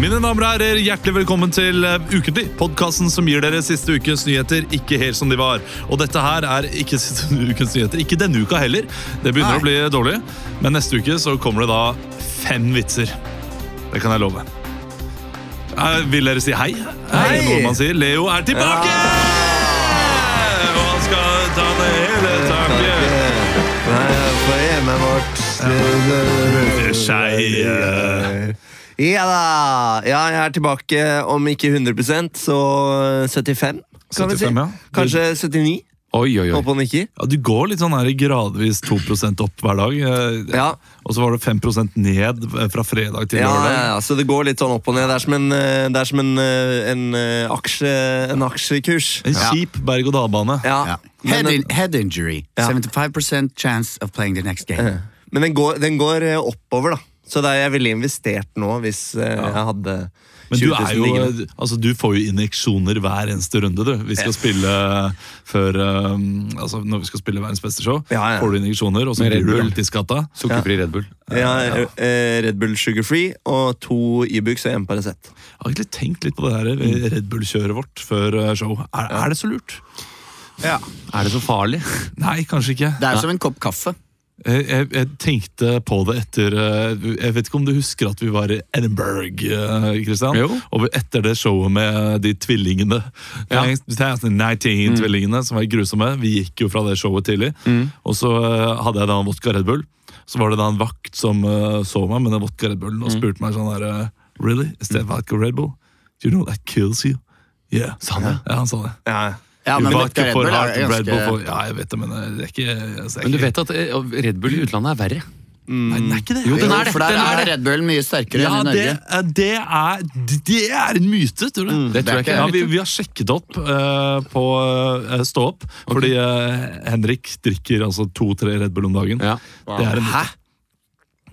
Mine damer og herrer, hjertelig velkommen til eh, Ukentlig. Podkasten som gir dere siste ukens nyheter ikke helt som de var. Og dette her er ikke siste ukens nyheter. Ikke denne uka heller. Det begynner Nei. å bli dårlig. Men neste uke så kommer det da fem vitser. Det kan jeg love. Eh, Vil dere si hei? Er det Hei! noe man sier? Leo er tilbake! Og han skal ta det hele taket. På hjemmet vårt Skeie. Ja da! Ja, jeg er tilbake om ikke 100 så 75, kan vi si. 75, ja. Kanskje 79. Oi, oi, oi. Håper han ikke. Ja, du går litt sånn her gradvis 2 opp hver dag. eh, Ja, Og så var det 5 ned eh, fra fredag til ja, lørdag. ja, så det går litt sånn opp og ned. Det er som en, eh, det er som en, eh, en, eh, aksje, en aksjekurs. En kjip berg-og-dal-bane. Ja. Yeah. Head, Men, in, head injury. Yeah. 75% chance of playing the next game. eh, men den, går, den går eh, oppover, da. Så det er, jeg ville investert nå hvis eh, jeg hadde 20 Men du, 000 er jo, liggende. altså, du får jo injeksjoner hver eneste runde. Du. Vi skal spille eh, før um, altså, Når vi skal spille verdens beste show, Ja, ja. får du injeksjoner, og så Med blir Red du Bull, ja. langtidsskatta. Sukkerfri Red Bull. Ja, eh, Red Bull Sugar Free og to Ibux og en Paracet. Jeg har egentlig tenkt litt på det her eh, Red Bull-kjøret vårt før eh, show. Er, er det så lurt? Er det så farlig? Nei, kanskje ikke. Det er som en kopp kaffe. Jeg, Eh, jeg, jeg tenkte på det etter eh, Jeg vet ikke om du husker at vi var i Edinburgh, eh, Christian? Jo. Og etter det showet med de tvillingene, Eh, Ja. 19-tvillingene, som var grusomme. Vi gikk jo fra det showet tidlig. Og så eh, hadde jeg da en vodka Red Bull. Så var det da en vakt som eh, så meg med den vodka Red Bullen og spurte meg sånn her eh, Really? Is that vodka Red Bull? Do you know that kills you? Yeah. Sa han det? Ja, han sa det. Ja. Ja, men vodka vodka Red for Bull er hardt, ganske- Red Bull for Ja, jeg vet det, men eh, det er ikke altså, det er Men du ikke- vet at eh, Red Bull i utlandet er verre. Nei, den er ikke det. Jo, den Jo, er det, for der den er det. Red Bull mye sterkere Ja, enn i det, Norge. eh, det, er, det er en myte, tror du. Mm, Det tror jeg ikke. ja, er vi, mitt. vi har sjekket opp eh, på eh, Stå opp, fordi eh, Henrik drikker altså to-tre Red Bull om dagen. Ja. Det er en myte.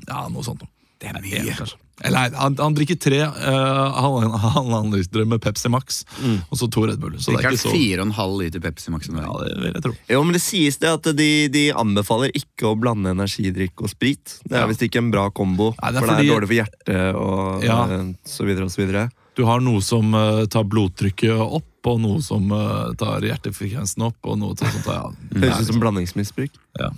Ja, noe sånt. Det er mye. Eller, nei, han, han drikker tre uh, halvannen halvannen liter med Pepsi Max, Mm. og så to Red Bull. Så det er Drikker ikke så fire og en halv liter Pepsi Max om ja, dagen. det vil jeg tro. Jo, men det sies det at de, de anbefaler ikke å blande energidrikk og sprit. Det er visst ikke en bra kombo, Nei, det er for det fordi- er dårlig for hjertet og Ja. eh, så videre og så videre. Du har noe som eh, tar blodtrykket opp, og noe som eh, tar hjertefrekvensen opp, og noe som tar ja, Mm. det Høres er ut som blandingsmisbruk. Ja.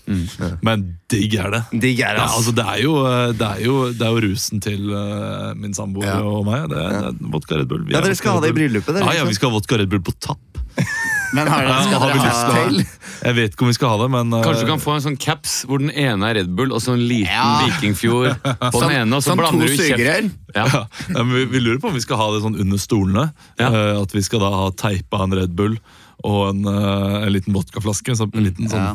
Men digg er det. Digg er Ja, det, ass. altså, det, er jo, det, er jo, det er jo rusen til eh, min samboer Ja. og meg. Det er, det er vodka Red Bull. Vi Ja, er dere vodka skal ha det i Red Bull. bryllupet, dere, Ja, ja, ikke vi sant? skal ha vodka Red Bull på tapp. Men har dere, skal har vi dere lyst ha til å ha til? Jeg vet ikke om vi skal ha det, men eh, Kanskje du kan få en sånn caps hvor den ene er Red Bull og så en liten Ja. vikingfjord på Sånn- den ene, og så sånn blander to du kjeft. sugerør. Ja. ja, men vi, vi lurer på om vi skal ha det sånn under stolene. Ja. eh, at vi skal da ha teipa en Red Bull og en, eh, en liten vodkaflaske. Så en liten sånn Ja.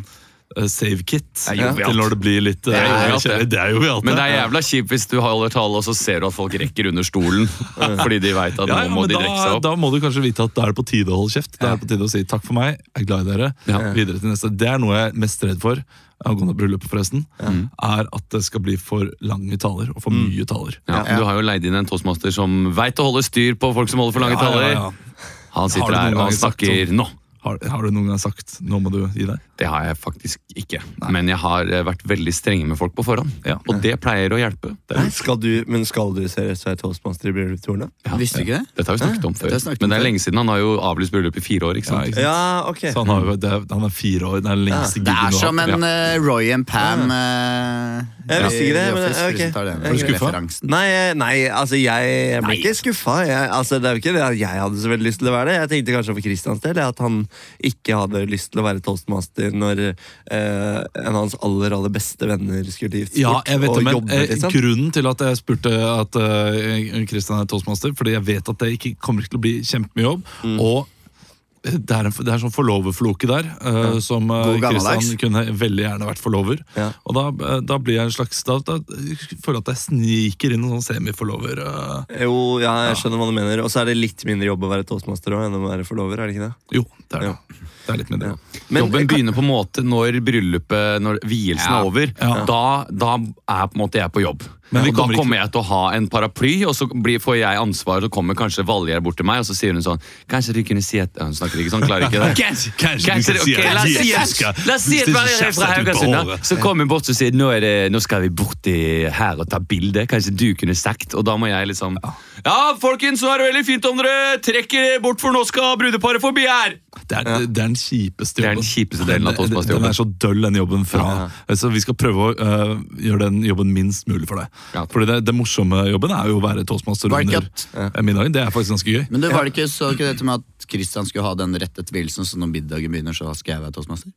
eh, save kit. jovialt. Til når det blir litt eh, Det er jovialt, kjedelig. det. Det er jo vi alt Men det er jævla kjipt hvis du holder tale, og så ser du at folk rekker under stolen. Fordi de veit at nå Ja, ja, må men de da, rekke seg opp. da må du kanskje vite at da er det på tide å holde kjeft. Da er det på tide å si takk for meg, jeg er glad i dere. Ja. Videre til neste. Det er noe jeg er mest redd for angående bryllupet, forresten. Mm. Er at det skal bli for lange taler og for mye taler. Ja, men Du har jo leid inn en toastmaster som veit å holde styr på folk som holder for lange Ja, taler. ja, ja. Han Har du noen sitter der og ganger han sagt snakker sånn? nå. Har, har du noen gang sagt 'nå må du gi deg'? Det har jeg faktisk ikke. Men jeg har eh, vært veldig strenge med folk på forhånd. Ja. Og det pleier å hjelpe. Nei, Skal du, men skal du seriøst være toastmaster i bryllupstorene? Visste du ikke det? Dette har vi snakket om før. har vi snakket om Men det er før. lenge siden. Han har jo avlyst bryllup i fire år. ikke sant? Ja, altså- Sånn ikke sant? Ja, ok. Så han, har, jo- det er, han er fire år, det er den lengste Det er giggen som hatt. en eh, Roy and Pam eh, Jeg visste ikke det, men- ok. Er du skuffa? Nei, eh, nei, altså jeg, jeg ble ikke skuffa. Jeg, altså, det er jo ikke det at jeg hadde så veldig lyst til å være det. Jeg tenkte kanskje for Christians del at han ikke hadde lyst til å være toastmaster når eh, en av hans aller aller beste venner skulle giftes Ja, jeg vet og det, men jobbe. eh, liksom. Grunnen til at jeg spurte at eh, Christian er toastmaster, fordi jeg vet at det ikke kommer til å bli kjempemye jobb. Mm. Og eh, det er, en, det er sånn forloverfloke der, eh, som eh, God gammeldags. Christian kunne veldig gjerne vært forlover. Ja. Og da, eh, da blir jeg en slags Da, da føler jeg at jeg sniker inn en sånn semiforlover. eh. Jo, ja, jeg skjønner hva du mener. Og så er det litt mindre jobb å være toastmaster også enn å være forlover. er det ikke det? Jo, det er det. Det er litt med det. Men, eh, Jobben begynner på en måte når bryllupet, når vielsen er over. Da, da er på en måte jeg på jobb. Men vi og da kommer ikke- kommer jeg til å ha en paraply, og så blir, får jeg ansvar. Så kommer kanskje Valgjerd bort til meg, og så sier hun sånn Kanskje du kunne si at ja, Hun snakker heter det ikke sånn. Klarer ikke det. Kanskje, kanskje, Kanskje det, du ok, la kan oss si si at at- La oss si at man er fra Haugesund, da. Så kommer vi bort og sier nå, er det, nå skal vi bort til her og ta bilde. Kanskje du kunne sagt Og da må jeg liksom Ja, folkens, nå er det veldig fint om dere trekker bort, for nå skal brudeparet forbi her! Det er, det er den kjipeste Det er jobben. den kjipeste delen av Den- den- toastmasterjobben. Den er så døll, den jobben fra. Eh, Så vi skal prøve å øh, gjøre den jobben minst mulig for deg. Ja. Fordi det, det morsomme jobben er jo å være toastmaster Var det under ikke eh, middagen. Det er faktisk ganske gøy. Men det var det ikke, så ikke dette med at Christian skulle ha den rette tvilelsen, så når middagen begynner, så skal jeg være toastmaster?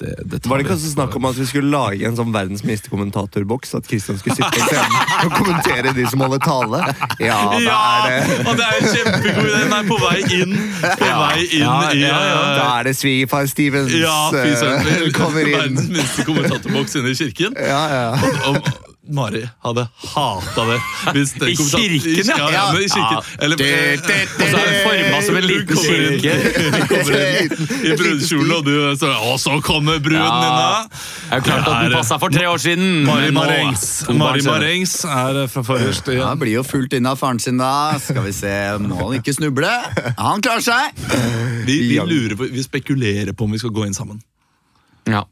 Det, det tar Var det vi. ikke også snakk om at vi skulle lage en sånn verdens minste kommentatorboks? At Kristian skulle sitte i scenen og kommentere de som holder tale? Ja, da er det og det er en kjempegod idé! Den er på vei inn. På vei inn Ja, i eh, ja, ja. Da er det svigerfar Stevens Ja, fy søren. eh, kommer inn. Verdens minste kommentatorboks inne i kirken. Ja, ja. Og, og Mari hadde hata det. hvis den I kommentator- kirken, ja. ja! ja, men i kirken. Ja. Eller, eh, Og så er det forma som en liten Kommer inn. kirke. kommer inn i brudekjolen, og du så, Og så kommer bruden Ja. din, Det er jo klart at den passa for tre år siden. eh, Mari men nå- Marengs. to barn Mari senere. Marengs er eh, fra forrest. Ja, Ja. han blir jo fulgt inn av faren sin da. Skal vi se, må han ikke snuble? Han klarer seg! Vi, vi, lurer på, vi spekulerer på om vi skal gå inn sammen. Ja.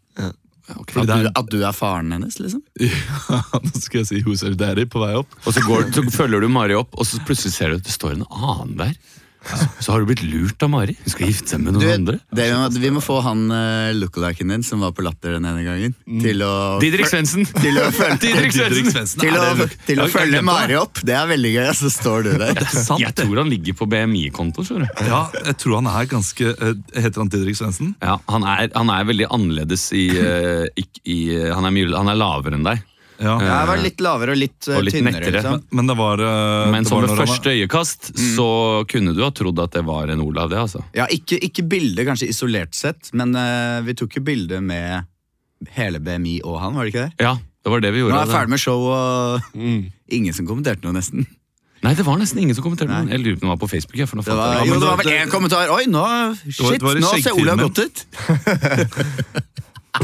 Fordi det At du, er, at du er faren hennes, liksom? ja, nå skal jeg si Who's Our Daddy på vei opp. Og så, går, så følger du Mari opp, og så plutselig ser du at det står en annen der. Så, så har du blitt lurt av Mari. Hun skal gifte seg med Du, noen andre. det, vi, må, vi må få han uh, lookaliken din som var på Latter den ene gangen, til å Didrik Svendsen! Til å følge- Didrik Didrik Svendsen! Svendsen. Til å, Er det- til å Ja, jeg følge glemte det. Mari opp. Det er veldig gøy, og så står du der. Det er sant, Jeg det. tror han ligger på BMI-kontoen. skjønner du. Ja, jeg tror han er ganske eh, Heter han Didrik Svendsen? Ja, han er, han er veldig annerledes i, eh, ikk- i eh, han, er mye, han er lavere enn deg. Ja. Jeg var litt lavere og litt, eh, Og litt tynnere. nettere. Liksom. Men det var eh, Men det som var når han ved var- første øyekast så kunne du ha trodd at det var en Olav, det, altså. Ja, ikke, ikke bildet kanskje isolert sett, men eh, vi tok jo bilde med hele BMI og han, var det ikke det? Ja, det var det vi Nå er gjorde. jeg altså. ferdig med show, og Mm. ingen som kommenterte noe, nesten. Nei, det var nesten ingen som kommenterte noe. Jeg lurer på om det var på Facebook. Jeg, for nå Det fant jeg var, det. jo, det da- var vel én kommentar. Oi, nå, var- shit, det var i nå ser skjeggtiden Olav godt ut!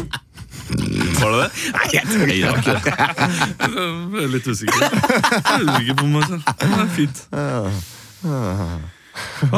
Var det det? Nei, jeg tror det var ikke det. Jeg er litt usikker. Jeg er usikker på meg selv. Det er fint. Åh,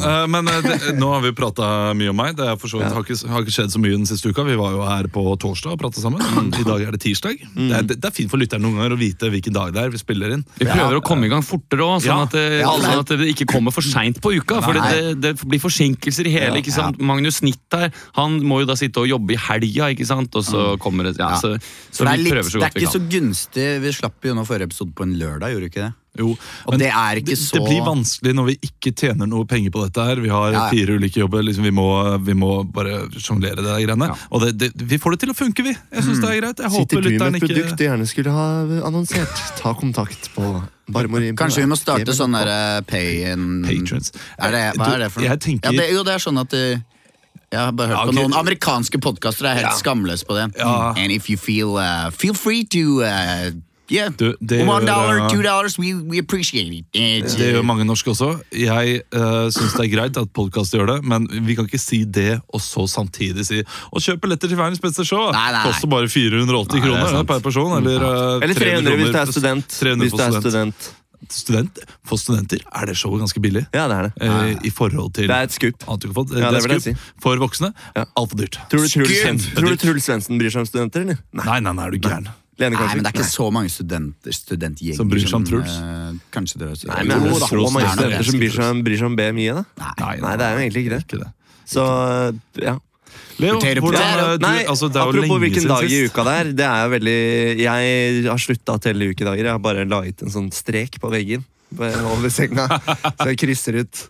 eh, Men eh, det, nå har vi prata mye om meg. Det er for så vidt, har, ikke, har ikke skjedd så mye den siste uka. Vi var jo her på torsdag og prata Mm. sammen. I dag er det tirsdag. Det er, det er fint for lytteren noen ganger å vite hvilken dag det er vi spiller inn. Vi prøver å komme i gang fortere òg, sånn, Ja. at det- Ja, sånn at det ikke kommer for seint på uka. For det, det, det blir forsinkelser i hele. ikke sant? Magnus Snitt der, han må jo da sitte og jobbe i helga, ikke sant? og så kommer det ja, Mm. Ja. Så, så For det er, vi litt, prøver det så er godt vi ikke så kan. gunstig. Vi slapp jo nå forrige episode på en lørdag, gjorde vi ikke det? Jo, Og det er ikke det, det så blir vanskelig når vi ikke tjener noe penger på dette her. Vi har Ja, ja. fire ulike jobber. Liksom vi, må, vi må bare sjonglere det der greiene. Ja. Og det, det, vi får det til å funke, vi. Jeg syns det er greit. Jeg Mm. Sitter håper du med lytteren et produkt du ikke gjerne skulle ha annonsert, ta kontakt på Barmorin. Kanskje vi må starte sånn derre pay in Patrons. Er det, hva Du, er det for noe? jeg tenker- ja, det, jo, det er sånn at eh, jeg har bare hørt Ja, på ok. noen amerikanske podkaster er helt skamløse på det. Ja. And if you feel uh, Feel free to uh, Yeah. Du, det gjør, One dollar, eh, two dollars, we, we appreciate it. Eh, Det gjør mange norske også. Jeg uh, syns det er greit at podkast gjør det, men vi kan ikke si det og så samtidig si Og kjøp billetter til verdens beste show! Nei, nei, nei. Koster bare 480 Nei, det er kroner sant. per person. Eller, eh, Eller 300 hvis du kroner er for- student. 300 Hvis du er for student. student. student. For studenter er det showet ganske billig. Ja, det er det. eh, I forhold til Det er et skup. annet du kan få. Det, Ja, det det er vil skup jeg si. for voksne. Ja. Altfor dyrt. Tror du Truls Skup! Svendsen- tror du Truls Svendsen bryr seg om studenter, eller? Nei, nei, nei, er du gæren. Lene, Nei, kanskje? men det er ikke så mange studenter, studentgjenger Som bryr seg om Truls. eh, kanskje dere Nei, men er Jo, det da, så Truls mange Svendsen er studenter som bryr seg om, bryr seg om BMI, da? Nei, Nei, det er jo egentlig ikke det. ikke det. Så, ja. Leo, Roterer på hvordan, det. eh, du, Nei, altså, det er jo apropos lenge hvilken siden dag i sist. uka det er. Det er jo veldig Jeg har slutta å telle ukedager. Jeg har bare laget en sånn strek på veggen eh, over senga, så jeg krysser ut.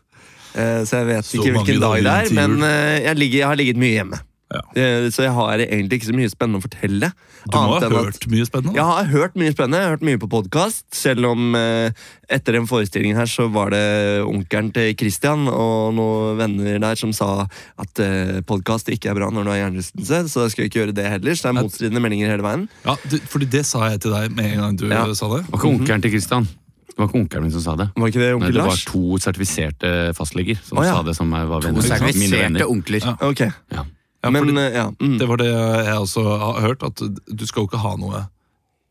Eh, Så jeg vet Så ikke mange hvilken dag det dager er, til jul. men eh, jeg, ligger, jeg har ligget mye hjemme. Ja. Eh, Så jeg har egentlig ikke så mye spennende å fortelle. Du må annet ha enn at- hørt mye spennende. jeg har hørt mye spennende. Jeg har hørt mye på podkast. Selv om eh, etter den forestillingen her så var det onkelen til Christian og noen venner der som sa at eh, podkast ikke er bra når du har hjernerystelse, så da skal vi ikke gjøre det heller. Så det er motstridende meldinger hele veien. Ja, du, fordi det sa jeg til deg med en gang du Ja. eh, sa det. Det var Mhm. ikke onkelen til Christian. Det var ikke onkelen min som sa det. Var ikke det Nei, onkel det var Lars? to sertifiserte fastleger som Å, ja. sa det, som var venner. ikke sant? Mine venner. Serviserte onkler. Ja. Ok, Ja. Ja, men fordi eh, ja. Mm. det var det jeg også har hørt, at du skal jo ikke ha noe.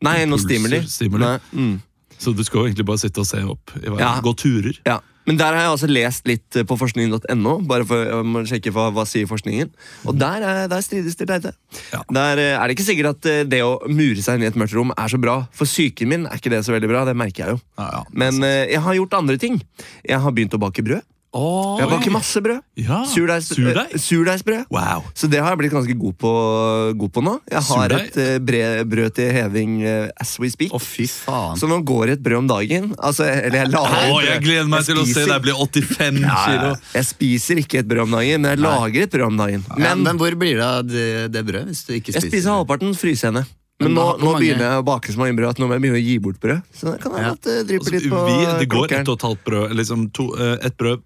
Nei, noe impulser, stimuli. stimuli. Nei, mm. Så du skal jo egentlig bare sitte og se opp i verden. Ja. Gå turer. ja. Men der har jeg også lest litt eh, på forskning.no, bare for jeg må sjekke hva, hva sier forskningen. Og der, er, der strides de lærde. Ja. Der eh, er det ikke sikkert at eh, det å mure seg inn i et mørkt rom er så bra. For psyken min er ikke det så veldig bra, det merker jeg jo. Ja, ja. Men eh, jeg har gjort andre ting. Jeg har begynt å bake brød. Jeg baker masse brød. Ja, Surdeigs, surdeig? eh, surdeigsbrød. Wow. Så det har jeg blitt ganske god på, god på nå. Jeg har Surdeig? et eh, bre- brød til heving eh, as we speak. Å, fy faen. Så nå går det et brød om dagen. Altså, eller jeg lager et Å, brød. jeg gleder meg til å se spiser- deg bli 85 kilo. Jeg spiser ikke et brød om dagen, men jeg lager et brød om dagen. Ja, Men men hvor blir det av det, det brødet hvis du ikke jeg spiser spiser halvparten, fryser henne. Men Men nå, hvor nå mange- begynner jeg å bake så mange brød at nå må jeg begynne å gi bort brød. Så da kan jeg Ja. godt eh, dryppe Altså, litt på vi, det går klokkeren. ett og et halvt brød, liksom to, eh, ett brød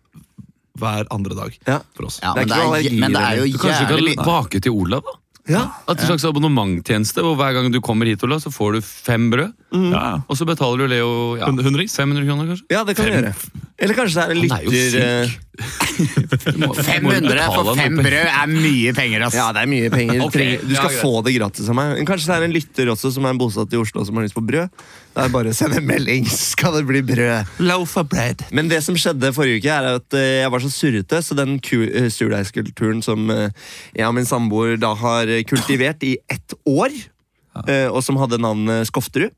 hver andre dag Ja. for oss. Ja, Det er men det ikke noe er, allergi, men det er jo Du kanskje kan jævlig mye bake til Olav, da? Ja. At en slags abonnementtjeneste hvor hver gang du kommer hit, Olav, så får du fem brød. Mm. Ja. Og så betaler du Leo ja, Hun- hundrings? 500 kroner, kanskje? ja, det kan vi gjøre. Eller kanskje det er en Han er jo lytter syk. eh, Du må- du må jo 500 betale for han fem opp i- brød er mye penger, ass. Ja, det er mye penger. Du Ok, trenger- du ja, skal greit. få det gratis av meg. Men Kanskje det er en lytter også som er bosatt i Oslo som har lyst på brød. Det er bare å sende en melding, så skal det bli brød. Loaf of bread. Men det som skjedde forrige uke, er at eh, jeg var så surrete, så den ku- eh, surdeigskulturen som eh, jeg og min samboer da har eh, kultivert i ett år, eh, og som hadde navnet Skofterud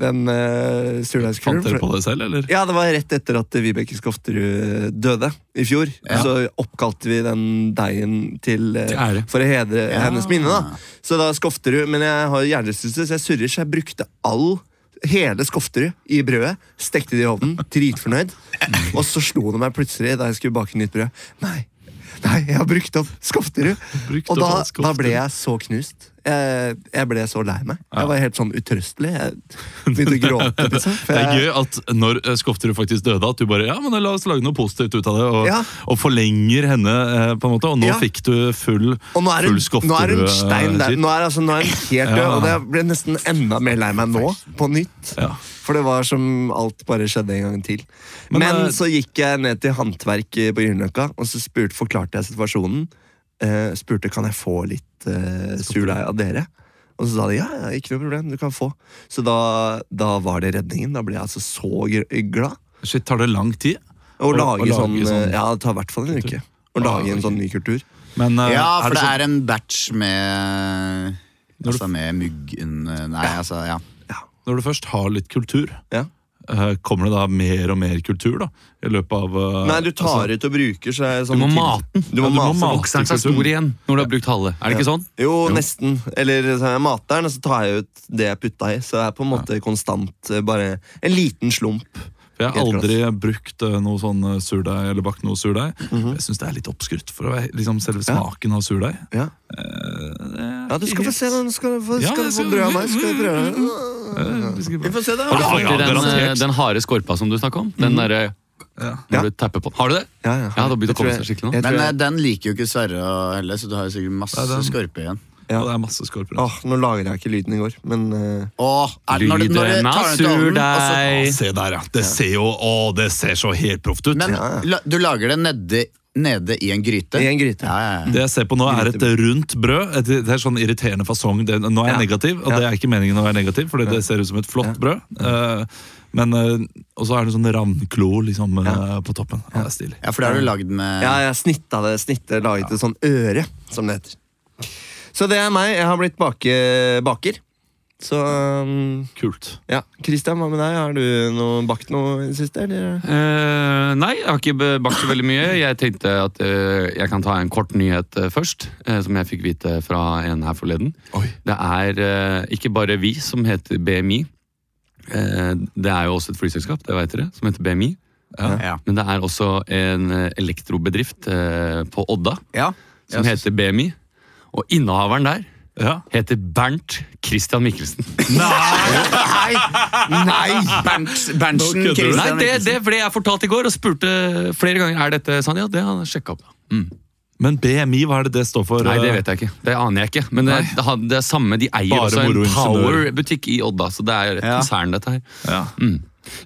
Den eh, Fant dere surdeigskulturen på det selv, eller? ja, det var rett etter at Vibeke Skofterud eh, døde i fjor. Så oppkalte vi den deigen til, eh, Til ære. for å hedre hennes minne. da. Så da Skofterud, Men jeg har hjernerystelse, så jeg surrer, så jeg brukte all Hele Skofterud i brødet. Stekte det i ovnen, dritfornøyd. Og så slo det meg plutselig da jeg skulle bake nytt brød. Nei, nei, jeg har brukt opp Skofterud! Brukt Og opp da, all Skofterud. da ble jeg så knust. Jeg, jeg ble så lei meg. Jeg var helt sånn utrøstelig. Jeg begynte å gråte. Liksom, for Det er jeg- gøy at når eh, Skofterud faktisk døde, at du bare ja, men la oss lage noe positivt ut av det. Og, Ja. og forlenger henne, eh, på en måte. Og nå Ja. fikk du full, Og nå er hun, full eh, nå er hun stein der. Skofterud-shit. Nå er, altså, nå er hun helt død, Ja. og det ble nesten enda mer lei meg nå, på nytt. Ja. For det var som alt bare skjedde en gang til. Men, Men, eh, så gikk jeg ned til håndverk eh, på Grünerløkka, og så spurte, forklarte jeg situasjonen. Eh, spurte kan jeg få litt uh, surdeig av dere. Og så sa de ja, ja, ikke noe problem, du kan få. Så da, da var det redningen. Da ble jeg altså så gr- glad. Shit, tar det lang tid? Å Og- lage, og lage sånn, sånn- eh, Ja, det tar i hvert fall en uke. Å Ja, lage en ok. sånn ny kultur. Men eh, Ja, for er det det sånn, er en batch med Altså med mygg under Nei, altså, ja. når du først har litt kultur Ja. eh, Kommer det da mer og mer kultur da? I løpet av eh, Nei, du tar altså, ut og bruker. Så er det Du sånn må tid- mate den. Du må Ja, du må mate den. mate. Bokseren er stor igjen når du har brukt halve. Er det ikke sånn? Jo, nesten. Eller så har jeg mater den, og så tar jeg ut det jeg putta i. Så jeg er på en måte konstant eh, bare en liten slump. for Jeg har Helt aldri brukt eh, noe sånn eh, surdeig eller bakt noe surdeig. Mhm. Jeg syns det er litt oppskrytt for å være liksom, selve smaken av surdeig. Ja, Ja, ja du skal få se den. Skal du få, Ja, skal du jeg få ser- brød av meg? Skal du prøve den? Vi får se, da. Ja, ja, Til den, eh, garantert. den harde skorpa som du snakka om. Den derre Ja. når du tapper på. Har du det? Ja, ja. Ja, da begynner det å Jeg tror komme jeg- seg skikkelig nå. jeg tror Men eh, jeg- den liker jo ikke Sverre og Helle, så du har jo sikkert masse Nei, den- skorpe igjen. Ja, det er masse skorper. Åh, Nå lager jeg ikke lyden i går, men eh, Åh, er, når, du, når du Lyden tar av den ut av ovnen, og så Å, surdeig. se der, ja. Det ser jo å, det ser så helproft ut. Men Ja, ja. la, du lager det nede, nede i en gryte? I en gryte. Ja, ja, ja. det jeg ser på nå, er et rundt brød. Et, det er sånn irriterende fasong. Det, nå er jeg Ja. negativ, og Ja. det er ikke meningen å være negativ, Fordi det ser ut som et flott brød. Eh, men, eh, Og så er det sånn randklo liksom, eh, på toppen. Ja, det er stilig. ja, for det har du lagd med Ja, jeg snitta det, snittet laget et sånn øre, som det heter. Så det er meg. Jeg har blitt bake, baker. Så um, Kult. ja. Christian, hva med deg? Har du noe, bakt noe i det siste? Eller? Eh, nei, jeg har ikke be- bakt så veldig mye. Jeg tenkte at eh, jeg kan ta en kort nyhet eh, først, eh, som jeg fikk vite fra en her forleden. Det er eh, ikke bare vi som heter BMI. Eh, det er jo også et flyselskap, det vet dere, som heter BMI. Ja. Men det er også en eh, elektrobedrift eh, på Odda ja. som Ja, så- heter BMI. Og innehaveren der Ja. heter Bernt Christian Michelsen. Nei! Nei! Bernt, Berntsen Nå kødder du. Nei, Christian det, Mikkelsen. det ble jeg fortalt i går og spurte flere ganger er dette sant. Ja, det har han sjekka opp. da. Men BMI, hva er det det står for? Nei, det vet jeg ikke. Det aner jeg ikke. Men det, det, har- det er samme, de eier Bare også moro en og ingeniører. Power-butikk i Odda, så det er jo et Ja. konsern, dette her. Ja.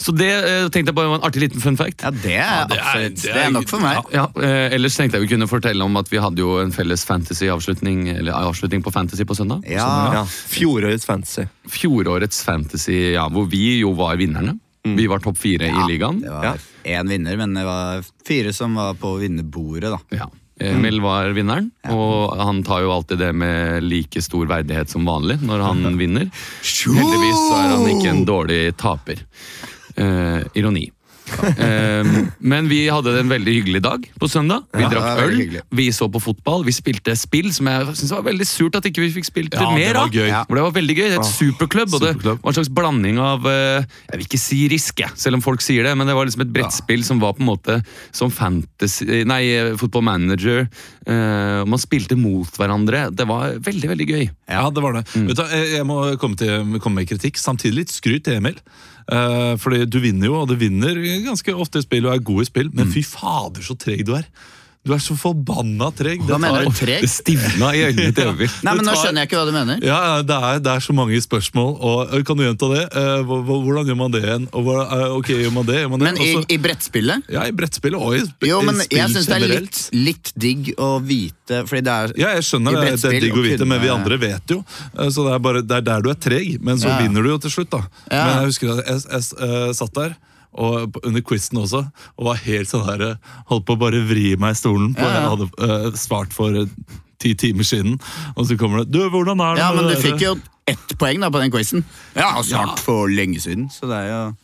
Så det eh, tenkte jeg bare var en artig liten fun fact. Ja, det er det er- absolutt det er- Det er nok for meg. Ja, eh, Ellers tenkte jeg vi kunne fortelle om at vi hadde jo en felles fantasy-avslutning Eller avslutning på fantasy på søndag. Ja. Ja, Fjorårets fantasy. Fjorårets fantasy, ja, hvor vi jo var vinnerne. Vi var topp fire i ligaen. Mm. Det Ja. var én vinner, men det var fire som var på vinnerbordet, da. Ja. Emil var vinneren, og han tar jo alltid det med like stor verdighet som vanlig når han vinner. Heldigvis så er han ikke en dårlig taper. Eh, ironi. Eh, men vi hadde en veldig hyggelig dag på søndag. Vi Ja, det drakk var øl, veldig hyggelig. vi så på fotball, vi spilte spill, som jeg synes var veldig surt at ikke vi fikk spilt Ja, det mer var av. gøy. For det var veldig gøy. Det er Ah, et superklubb, og det Superklubb. var en slags blanding av eh, Jeg vil ikke si riske, selv om folk sier det, men det var liksom et brettspill som var på en måte som fantasy Nei, eh, football manager. eh, og man spilte mot hverandre. Det var veldig, veldig gøy. Ja, det var det. Mm. Vet du, jeg jeg må komme, til, komme med kritikk. Samtidig litt skryt til Emil. Eh, fordi du vinner jo, og du vinner ganske ofte i spill og er god i spill, Mm. men fy fader, så treg du er. Du er så forbanna treg. Det Hva mener tar- du? Treg? Det stivna i øynene til Øyvind. Nei, men Nå tar- skjønner jeg ikke hva du mener. Ja, ja, det er, det er så mange spørsmål. Og ø, Kan du gjenta det? Eh, hvor- hvor- Hvordan gjør man det igjen? Og hvor- eh, ok, gjør man det? Gjør man det? Men i, Også- i brettspillet ja, i brettspill og i, sp- Jo, i men spill jeg syns det er litt generelt. Litt digg å vite, fordi det er Ja, jeg skjønner I det, det er brettspill digg å å vite, kunne- men vi andre vet jo. Eh, Så det er, bare, det er der du er treg, men så Ja. vinner du jo til slutt, da. Ja. Men jeg husker at jeg, jeg, eh, satt der. Og på- under quizen også, og var helt sånn her Holdt på å bare vri meg i stolen på Ja, jeg hadde eh, svart for eh, ti timer siden. Og så kommer det 'Du, hvordan er det Ja, med men du det der?» fikk jo ett poeng da på den quizen. Ja, svart for lenge siden, så det er jo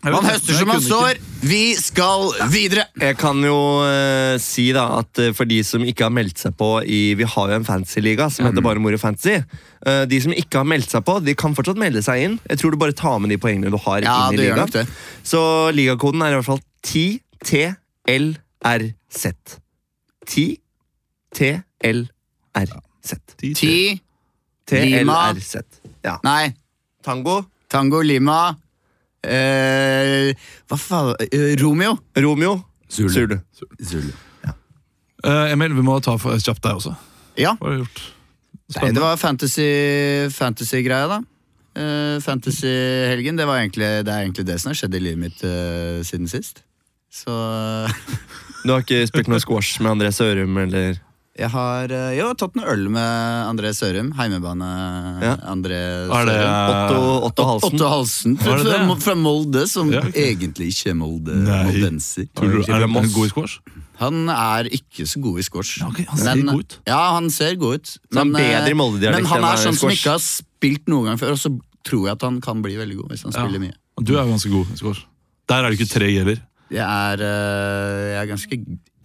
Jeg vet Man ikke, høster jeg som man kunne ikke- sår. Vi skal videre! Jeg kan jo eh, si da at eh, for de som ikke har meldt seg på i Vi har jo en fantasy-liga som heter Bare Moro Fantasy. Eh, de som ikke har meldt seg på, de kan fortsatt melde seg inn. Jeg tror du bare tar med de poengene du har. Ja, inn du i gjør ligaen. nok det. Så ligakoden er i hvert fall 10TLRZ. 10TLRZ. Ti Lima. TLRZ. Ja. Nei, Tango, Tango Lima eh, Hva faen eh, Romeo. Romeo, Zulu. Eh, Emil, vi må ta for, kjapt deg også. Ja. Hva har du gjort? Nei, det var fantasy- fantasy-greia, da. Eh, Fantasy-helgen. Det, var egentlig- det er egentlig det som har skjedd i livet mitt eh, siden sist. Så Du har ikke spilt noe squash med André Sørum, eller? jeg har eh, jo tatt noe øl med André Sørum. Heimebane Ja. André Er det, Sørum. Otto, Otto Halsen. Otto Halsen Var fra, det det? fra, fra Molde, som Ja. egentlig ikke er Molde Nei. moldenser. Tror du, er han Moss? god i squash? Han er ikke så god i squash. Ja, ok, han ser god ut. Ja, han ser god ut. Så han er eh, bedre i Molde-dialekt men han enn han er er i sånn som squash. ikke har spilt noen gang før, og så tror jeg at han kan bli veldig god hvis han spiller mye. Og Du er jo ganske god i squash. Der er det ikke tre heller. Jeg er, eh, jeg er ganske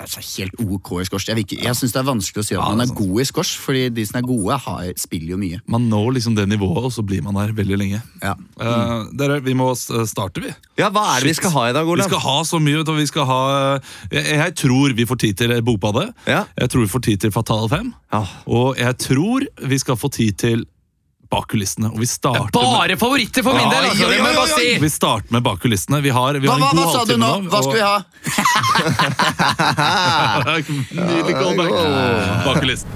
altså, helt ok i squash. Jeg, vil ikke- jeg syns det er vanskelig å si at man er god i squash, fordi de som er gode, har, spiller jo mye. Man når liksom det nivået, og så blir man der veldig lenge. Ja. Eh, dere, vi må s- starte, vi. Ja, hva er det vi Shit. skal ha i dag, Vi Olav? skal ha så mye. vet du, Vi skal ha, eh, jeg, jeg tror vi får tid til Bokbadet. Ja. Jeg tror vi får tid til Fatal 5. Ja. Og jeg tror vi skal få tid til Bak kulissene. Og vi starter med Bare favoritter for min del! Altså, det må jeg bare si! Vi starter med bak kulissene. Vi har, vi Hva, har hva, en hva god sa du halvtime nå? Hva skal vi ha? Nydelig callback. Bak kulissene.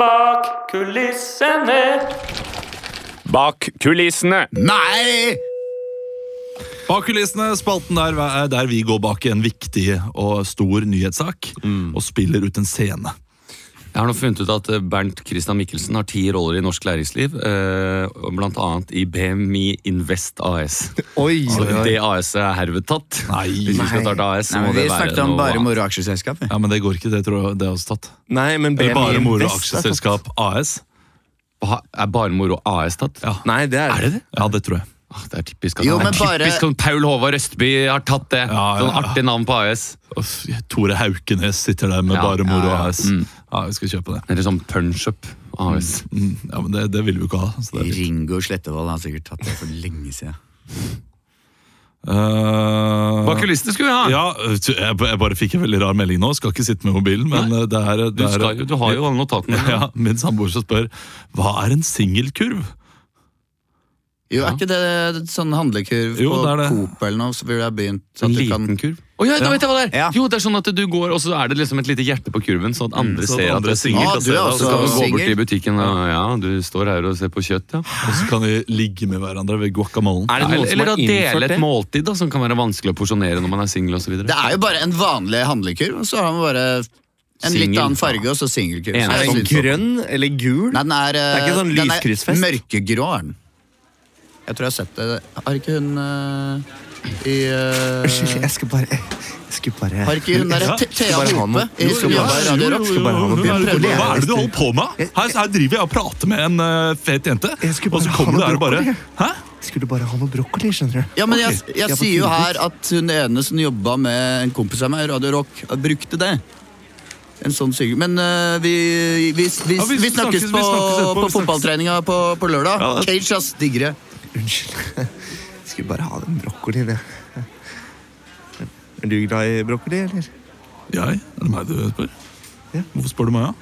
Bak kulissene. Bak kulissene. Nei! Bak kulissene, spalten der, er der vi går bak en viktig og stor nyhetssak Mm. og spiller ut en scene. Jeg har nå funnet ut at eh, Bernt Christian Mikkelsen har ti roller i norsk læringsliv, eh, og blant annet i BMI Invest AS. Oi, Så oi, oi. det AS-et er herved tatt. Nei. Hvis vi skal starte AS, så Nei, må men det Vi være snakket om bare annet. moro aksjeselskap. vi. Ja, men det går ikke, det tror jeg det er også tatt. Nei, men altså. Eller BMI bare Moro Invest er tatt. Aksjeselskap AS. Ba- Er bare moro AS tatt? Ja. Nei, det er, Er det det? Ja, det tror jeg. Ah, Det er typisk at Jo, det men er bare- typisk at Paul Håvard Østby har tatt det. Ja, ja, Sånn ja. artig navn på AS. Uff, Tore Haukenes sitter der med Ja, bare Moro ja, Mm. ja. AS. Ja, vi skal kjøpe det. Eller sånn punch-up AS. Mm, Ja, men det, det vil vi jo ikke ha. Så det er litt. Ringo Slettevold har sikkert tatt det for lenge siden. Eh, Hva kulissene skulle vi ha? ja, jeg, jeg bare fikk en veldig rar melding nå. Skal ikke sitte med mobilen, men eh, det er, Du, det er skal, jo- du har jo alle notatene. dine. ja, Min samboer som spør hva er en singelkurv. Jo, er ikke det sånn handlekurv Jo, på det er det. Coop eller noe, så burde jeg begynt at En du liten kan kurv? Å ja, da vet jeg hva det er! Ja. Jo, det er sånn at du går, og så er det liksom et lite hjerte på kurven, sånn at andre Mm, Så ser at at det andre er singel Ah, kan du se er det, altså og så kan vi gå- Kan du gå Singel? bort i butikken og ja, du står her og ser på kjøtt, ja. Og så kan vi ligge med hverandre ved guacamolen. Er det noen Eller, som eller å har dele innført et det? måltid da, som kan være vanskelig å porsjonere når man er singel osv. Det er jo bare en vanlig handlekurv, og så har man bare en litt Singel. annen farge, og så singelkurv. Så Enig. Er jeg den synes- grønn eller gul? sånn- Eh, Nei, den er, Det er ikke sånn eh, den er lyskryssfest? Mørkegrå er den. Jeg tror jeg har sett det. Har ikke hun eh, i Unnskyld, eh, jeg skal bare Jeg skulle bare Har ikke hun der Ja, Te- skal Thea bare ha Hope noe. i Jo, jo, jo, Johanna jo, Radio Rock? jo, jo. bare ha noe Hva er det du- bibliotek. hva er det du holder på med? Her, her driver jeg og prater med en eh, fet jente, Jeg skulle og så bare ha kommer du noe der og bare brokkoli. Hæ? Skulle bare ha noe brokkoli, skjønner du. Ja, men jeg, Ok, jeg, er på sier jo tidlig. her at hun ene som jobba med en kompis av meg i Radio Rock, brukte det. En sånn syke. Men øh, vi, vi, vi, Ja, vi, vi snakkes- snakkes vi på, snakkes etterpå, på vi snakkes. fotballtreninga på, på lørdag. Ja, det- Cage, ass, diggere. Unnskyld. Skulle bare ha den brokkolien, jeg. Er du glad i brokkoli, eller? Jeg? Er det meg du spør? Ja. Hvorfor spør du meg, ja?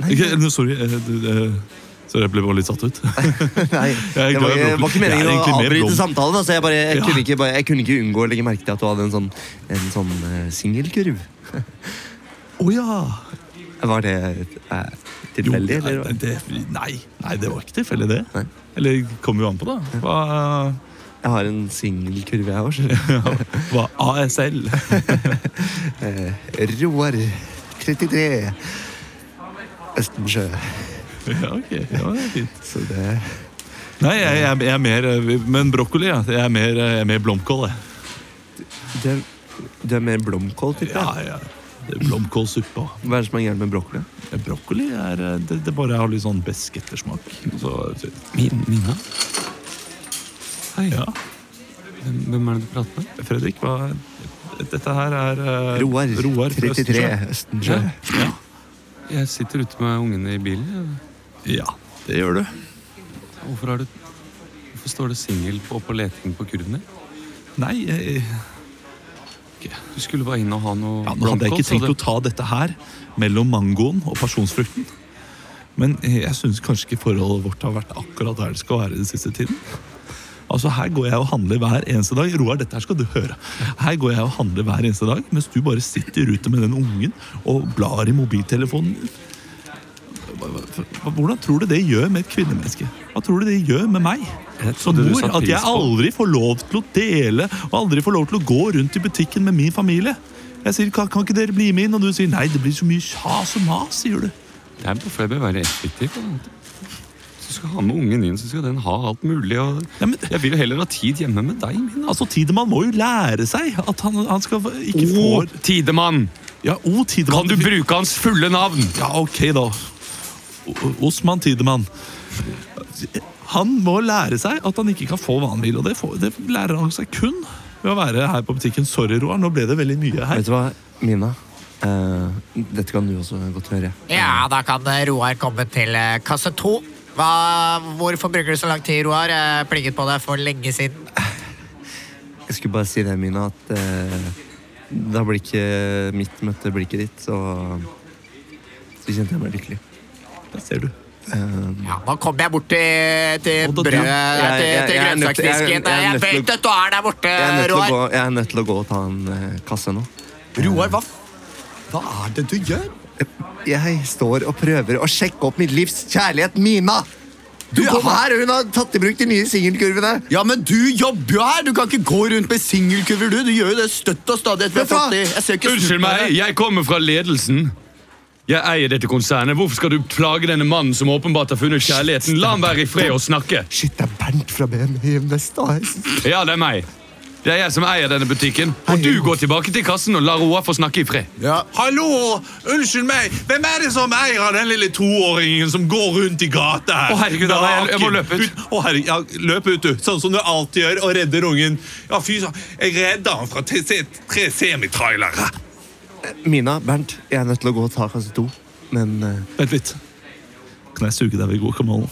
Nei, Ikke, no, sorry, eh, du- eh, sorry, jeg ble bare litt satt ut. nei. Det er glad i var, ikke- det var brokkoli. ikke meningen Jeg er å egentlig mer avbryte blom. samtalen. Altså, jeg, bare, jeg, Ja. kunne ikke, bare, jeg kunne ikke unngå å legge merke til at du hadde en sånn, en sånn eh, singelkurv. Å ja! Var det eh, Jo, tilfeldig, nei, eller? det, nei, nei, det var ikke tilfeldig, det. Nei. Eller kommer jo an på, da. Hva, Jeg har en singelkurv, jeg òg. hva ASL Eh, Roar 33. Østensjø. Ja, ok. Ja, det er fint. Så det Nei, jeg, jeg, jeg er mer eh, Men brokkoli, ja. Jeg er mer, eh, jeg er mer blomkål, jeg. Du er, du er mer blomkål, tipper Ja, jeg. ja. Det er Blomkålsuppe. Hva er det som er gærent med brokkoli? Eh, Brokkoli er eh, Det, det bare har litt sånn besk ettersmak. Så, Mina? Hei. ja. Hvem er det du prater med? Fredrik, hva Dette her er eh, Roar, Roar fra 33 Østersjø. Østensjø. Ja. Jeg sitter ute med ungene i bilen. jeg. ja, det gjør du. Hvorfor, har du, hvorfor står det singel på, på leting på kurven din? Nei, jeg, Du skulle bare inn og ha noe Ja, nå hadde jeg blomkål, ikke så tenkt å ta dette her mellom mangoen og pasjonsfrukten. Men jeg syns kanskje ikke forholdet vårt har vært akkurat der det skal være den siste tiden. Altså Her går jeg og handler hver eneste dag. Roar, dette her skal du høre. Her går jeg og handler hver eneste dag, mens du bare sitter ute med den ungen og blar i mobiltelefonen. Hva- hva- Hvordan tror du det gjør med et kvinnemenneske? Hva tror du det gjør med meg? Jeg Som trodde du mor, satte at jeg pris på- aldri får lov til å dele og aldri får lov til å gå rundt i butikken med min familie. Jeg sier, kan, kan ikke dere bli med inn? Og du sier, nei, det blir så mye kjas og mas, sier du. Det er bare fordi jeg bør være effektiv. på en måte. Hvis du skal ha med ungen din, så skal den ha alt mulig. Og Ja, men, jeg vil jo heller ha tid hjemme med deg, Mina. altså, Tidemann må jo lære seg at han, han skal ikke få Tidemann! Ja, O Tidemann Kan du bruke hans fulle navn? Ja, ok da. O- Osman Tidemann. Han må lære seg at han ikke kan få vanhvil, og det, får, det lærer han seg kun ved å være her på butikken. Sorry, Roar, nå ble det veldig mye her. Vet du hva, Mina? Eh, dette kan du også godt høre. Ja, da kan eh, Roar komme til eh, kasse to. Hva, hvorfor bruker du så lang tid, Roar? Jeg plinget på deg for lenge siden. Jeg skulle bare si det, Mina, at eh, da blikket mitt møtte blikket ditt, så Så kjente jeg meg lykkelig. Der ser du. Ja, nå kommer jeg bort til, til Og da- brødet, jeg- til, jeg- til jeg er nødt til- jeg er- grønnsaksdisken. jeg er Jeg, nødt til å- vet at du er der borte, Jeg er nødt til å Eh, Roar. gå, jeg er nødt til å gå og ta en eh, kasse nå. Roar, hva, hva er det du gjør? Jeg står og prøver å sjekke opp mitt livs kjærlighet, Mina! Du kom her, og hun har tatt i bruk de nye singelkurvene. Ja, men du jobber jo her! Du kan ikke gå rundt med singelkurver, du. Du gjør jo det støtt og stadig etter vi har Vet du hva? fått det. Jeg ser ikke Unnskyld slutten av meg, det. jeg kommer fra ledelsen. Jeg eier dette konsernet. Hvorfor skal du plage denne mannen som åpenbart har funnet kjærligheten? La ham være i fred og snakke. Shit, det er Bernt fra BMI Invest AS. Ja, det er meg. Det er jeg som eier denne butikken. Og du går tilbake til kassen og lar Roar få snakke i fred. Ja. Hallo! Unnskyld meg! Hvem er det som eier av den lille toåringen som går rundt i gata her? Å, herregud, Anna, jeg- jeg må Naken. løpe ut. Å, herregud, ja, løp ut, du. Sånn som du alltid gjør, og redder ungen. Ja, fy søren. Jeg redda han fra tre, tre semitrailere. Mina, Bernt, jeg er nødt til å gå og ta kasse to. Men eh, Vent litt. Kan jeg suge deg ved guacamolen?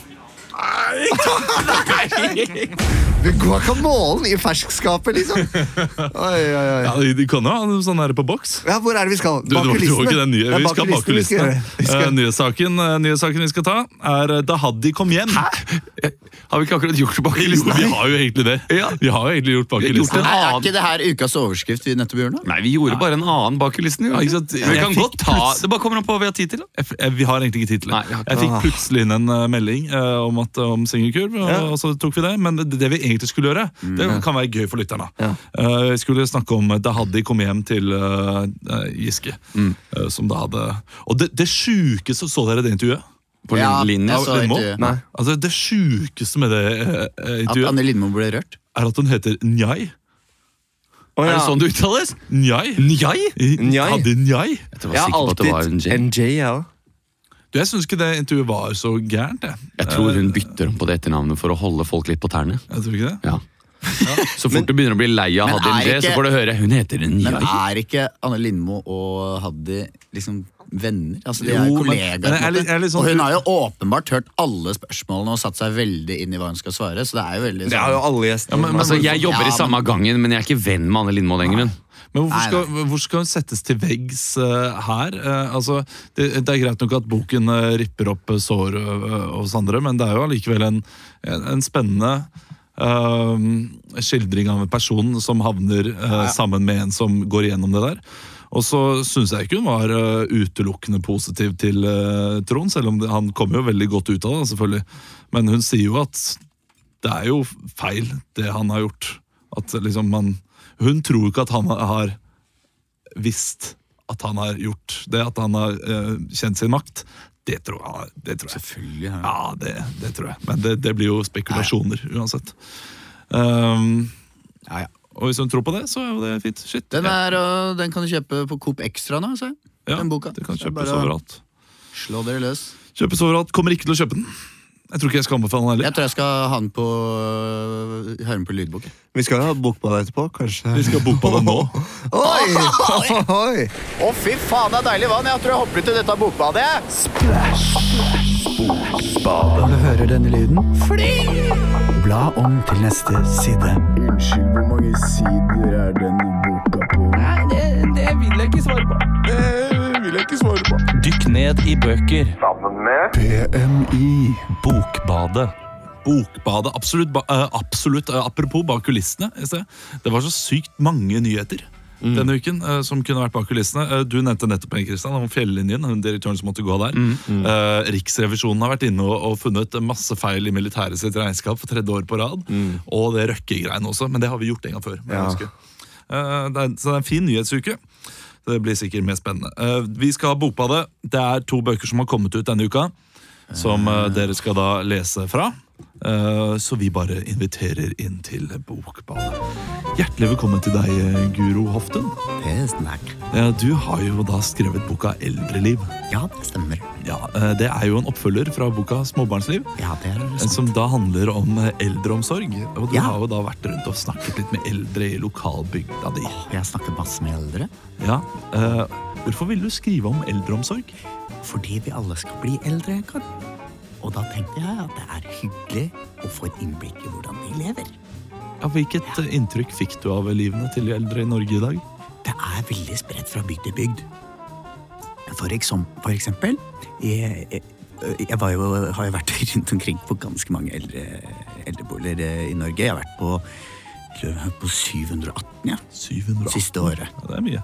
Guacamolen i ferskskapet, liksom! Oi, oi, oi. Ja, de, de kan jo ha noe sånn her på boks. Ja, hvor er det vi skal? Du, det var det var ikke den nye. Det er Vi skal bak kulissene. gjøre. Vi skal- Eh, Nyhetssaken eh, nyhetssaken vi skal ta, er eh, da Haddy kom hjem. Har vi ikke akkurat gjort tilbake Jo, vi har jo egentlig det. Vi har jo egentlig gjort bak Vi har gjort kulissene. en Nei, er annen ikke det her ukas overskrift vi nettopp gjorde nå? Nei, vi gjorde bare en annen bak kulissene. gjorde vi ikke? sant? Vi Jeg kan fikk godt ta Det bare kommer an på hva vi har tid til. da. Jeg f- jeg- Vi har egentlig ikke tid til det. Nei, vi har ikke Jeg fikk plutselig inn en eh, melding eh, om, at- om singelkurv, og, Ja. og så tok vi det. Men det, det vi egentlig skulle gjøre, det kan være gøy for lytterne. Ja. Eh, Vi skulle snakke om da Haddy kom hjem til eh, eh, Giske, eh, som da hadde Og det, det sjukeste, så dere det intervjuet? På Lin- Ja, linje. altså, så- Lindmo? intervju. Nei. Altså, det sjukeste med det eh, eh, At intervjuet Anne Lindmo ble rørt? er at hun heter Njai. Å, Er ja. det sånn det uttales? Njai? Njai? I- Njai? Hadde Njai? Jeg var Jeg har sikker på at det var en alltid J. NJ, ja. Du, Jeg syns ikke det intervjuet var så gærent. Jeg, Jeg tror hun bytter om på det etternavnet for å holde folk litt på tærne. jeg tror ikke det. Ja. Så fort du begynner å bli lei av Men Hadim er J, ikke- så får du høre hun heter Men Njai. er ikke Anne Lindmo og Haddy liksom venner? Altså, de Jo, er jo men- men kollegaer. på en jeg er litt- jeg er litt måte. sånn- Og hun har jo åpenbart hørt alle spørsmålene og satt seg veldig inn i hva hun skal svare. Så det er jo veldig sånn, Det har jo alle gjestene. Altså, jeg jobber i Ja, samme gangen, men jeg er ikke venn med Anne Lindmo av den grunn. Men hvorfor Nei, skal, hvor skal hun settes til veggs eh, her? Eh, altså, det, det er greit nok at boken eh, ripper opp eh, sår eh, hos andre, men det er jo allikevel en, en, en spennende eh, skildring av en person som havner eh, sammen med en som går igjennom det der. Og så syns jeg ikke hun var eh, utelukkende positiv til eh, Trond, selv om det, han kommer jo veldig godt ut av det, selvfølgelig. Men hun sier jo at det er jo feil, det han har gjort. At liksom man Hun tror jo ikke at han har visst at han har gjort det, at han har eh, kjent sin makt. Det tror jeg. Det tror jeg. Selvfølgelig. Ja. Ja, det, det tror jeg. Men det, det blir jo spekulasjoner uansett. Um, Ja, ja. Og hvis hun tror på det, så er jo det fint. Shit. Den, ja, er, og den kan du kjøpe på Coop Extra nå. Så. ja, den boka. Det kan Så det er kjøpes bare å overalt. Slå dere løs. Kjøpes overalt. Kommer ikke til å kjøpe den. Jeg tror ikke jeg skal anbefale den Jeg heller. tror jeg skal ha den på øh, Høre den på lydbok. altså- Vi skal jo ha bokbad etterpå, kanskje. Vi skal bo på den nå. Oi! Oi! Å, fy faen, det er deilig vann! Jeg tror jeg hopper ut i dette bokbadet. Dykk ned i bøker. Sammen med BMI. Bokbadet. Bokbadet. Absolutt, ba- eh, absolutt eh, apropos bak kulissene i sted. Det var så sykt mange nyheter denne uken eh, som kunne vært bak kulissene. Eh, du nevnte nettopp en, Kristian, om Fjellinjen, hun direktøren som måtte gå der. Eh, Riksrevisjonen har vært inne og, og funnet masse feil i militæret sitt regnskap for tredje år på rad. Og det Røkke-greiene også, men det har vi gjort en gang før. må jeg Ja. huske. Eh, det er, så det er en fin nyhetsuke. Det blir sikkert mer spennende. Eh, vi skal ha Bokbadet. Det er to bøker som har kommet ut denne uka, som eh, dere skal da lese fra. Eh, så vi bare inviterer inn til Bokbadet. Hjertelig velkommen til deg, eh, Guro Hoften. Ja, du har jo da skrevet boka Eldreliv. Ja, det stemmer. Ja, eh, det er jo en oppfølger fra boka Småbarnsliv, Ja, det er eh, som da handler om eh, eldreomsorg. Og du Ja. har jo da vært rundt og snakket litt med eldre i lokalbygda di. Jeg snakker masse med eldre Ja, eh, Hvorfor ville du skrive om eldreomsorg? fordi vi alle skal bli eldre en gang. Og da tenkte jeg at det er hyggelig å få et innblikk i hvordan de lever. Ja, hvilket eh, inntrykk fikk du av livene til de eldre i Norge i dag? Det er veldig spredt fra bygd til bygd. For, eksom, for eksempel jeg, jeg, jeg var jo, har jo vært rundt omkring på ganske mange eldre, eldreboliger eh, i Norge. Jeg har vært på, jeg har vært på 718 ja, 700 siste året. Ja, det er mye.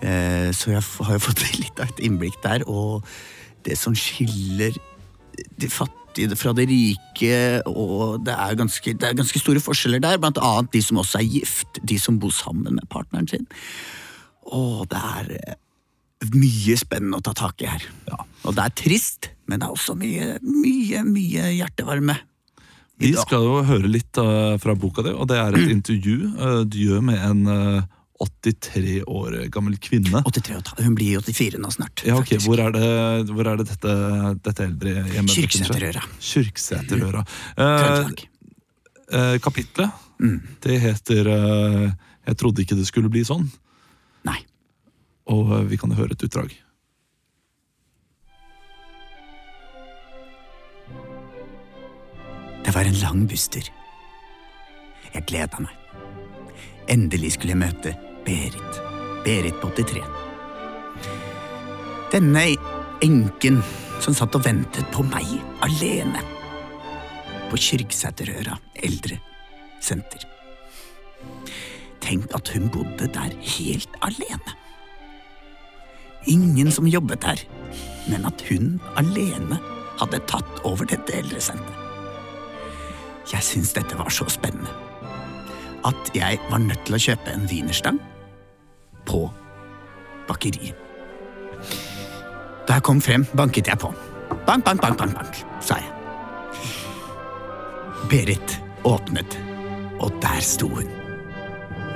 Eh, Så jeg f- har jo fått litt av et innblikk der, og det som skiller de fattige fra de rike, og det er ganske, det er ganske store forskjeller der, blant annet de som også er gift, de som bor sammen med partneren sin. Og det er eh, mye spennende å ta tak i her. Og det er trist, men det er også mye, mye, mye hjertevarme. Vi skal jo høre litt eh, fra boka di, og det er et intervju eh, du gjør med en eh, 83 år gammel kvinne. 83 og et halvt- Hun blir 84 nå snart. Ja, ok. faktisk. Hvor er det, hvor er det dette, dette eldrehjemmet? Kyrksæterøra. Kyrksæterøra. Trøndelag. Eh, eh, kapitlet, Mm. det heter eh, 'Jeg trodde ikke det skulle bli sånn', Nei. og eh, vi kan høre et utdrag. Det var en lang busstur. Jeg gleda meg. Endelig skulle jeg møte Berit. Berit på 83. Denne enken som satt og ventet på meg alene. På Kyrksæterøra eldresenter. Tenk at hun bodde der helt alene. Ingen som jobbet der, men at hun alene hadde tatt over dette eldresenteret. Jeg syntes dette var så spennende at jeg var nødt til å kjøpe en wienerstang på bakeriet. Da jeg kom frem, banket jeg på. Bank, bank, bank, bank, bank, sa jeg. Berit åpnet, og der sto hun.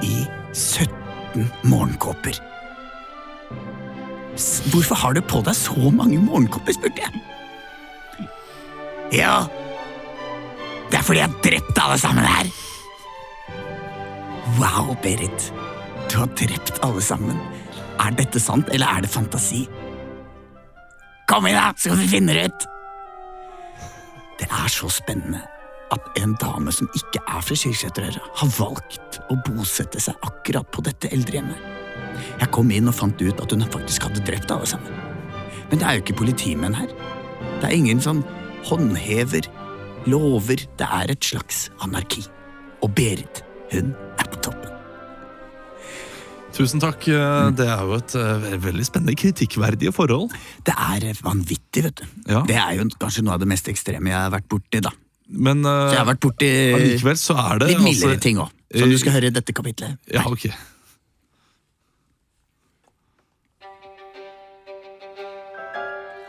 I 17 morgenkåper. S- Hvorfor har du på deg så mange morgenkåper, spurte jeg. Ja, det er fordi jeg har drept alle sammen her. Wow, Berit. Du har drept alle sammen. Er dette sant, eller er det fantasi? Kom igjen, da, så skal vi finne det ut! Det er så spennende at en dame som ikke er fra Kirkseterøra, har valgt å bosette seg akkurat på dette eldrehjemmet. Jeg kom inn og fant ut at hun faktisk hadde drept alle sammen. Men det er jo ikke politimenn her. Det er ingen som håndhever lover. Det er et slags anarki. Og Berit, hun er på toppen. Tusen takk. eh, Det er jo et eh, ve- veldig spennende, kritikkverdige forhold. Det er vanvittig, vet du. Ja. Det er jo kanskje noe av det mest ekstreme jeg har vært borti, da. Men Så jeg eh, har vært borti allikevel så er det litt mildere altså- ting òg, som du skal høre i dette kapitlet. Ja, ok.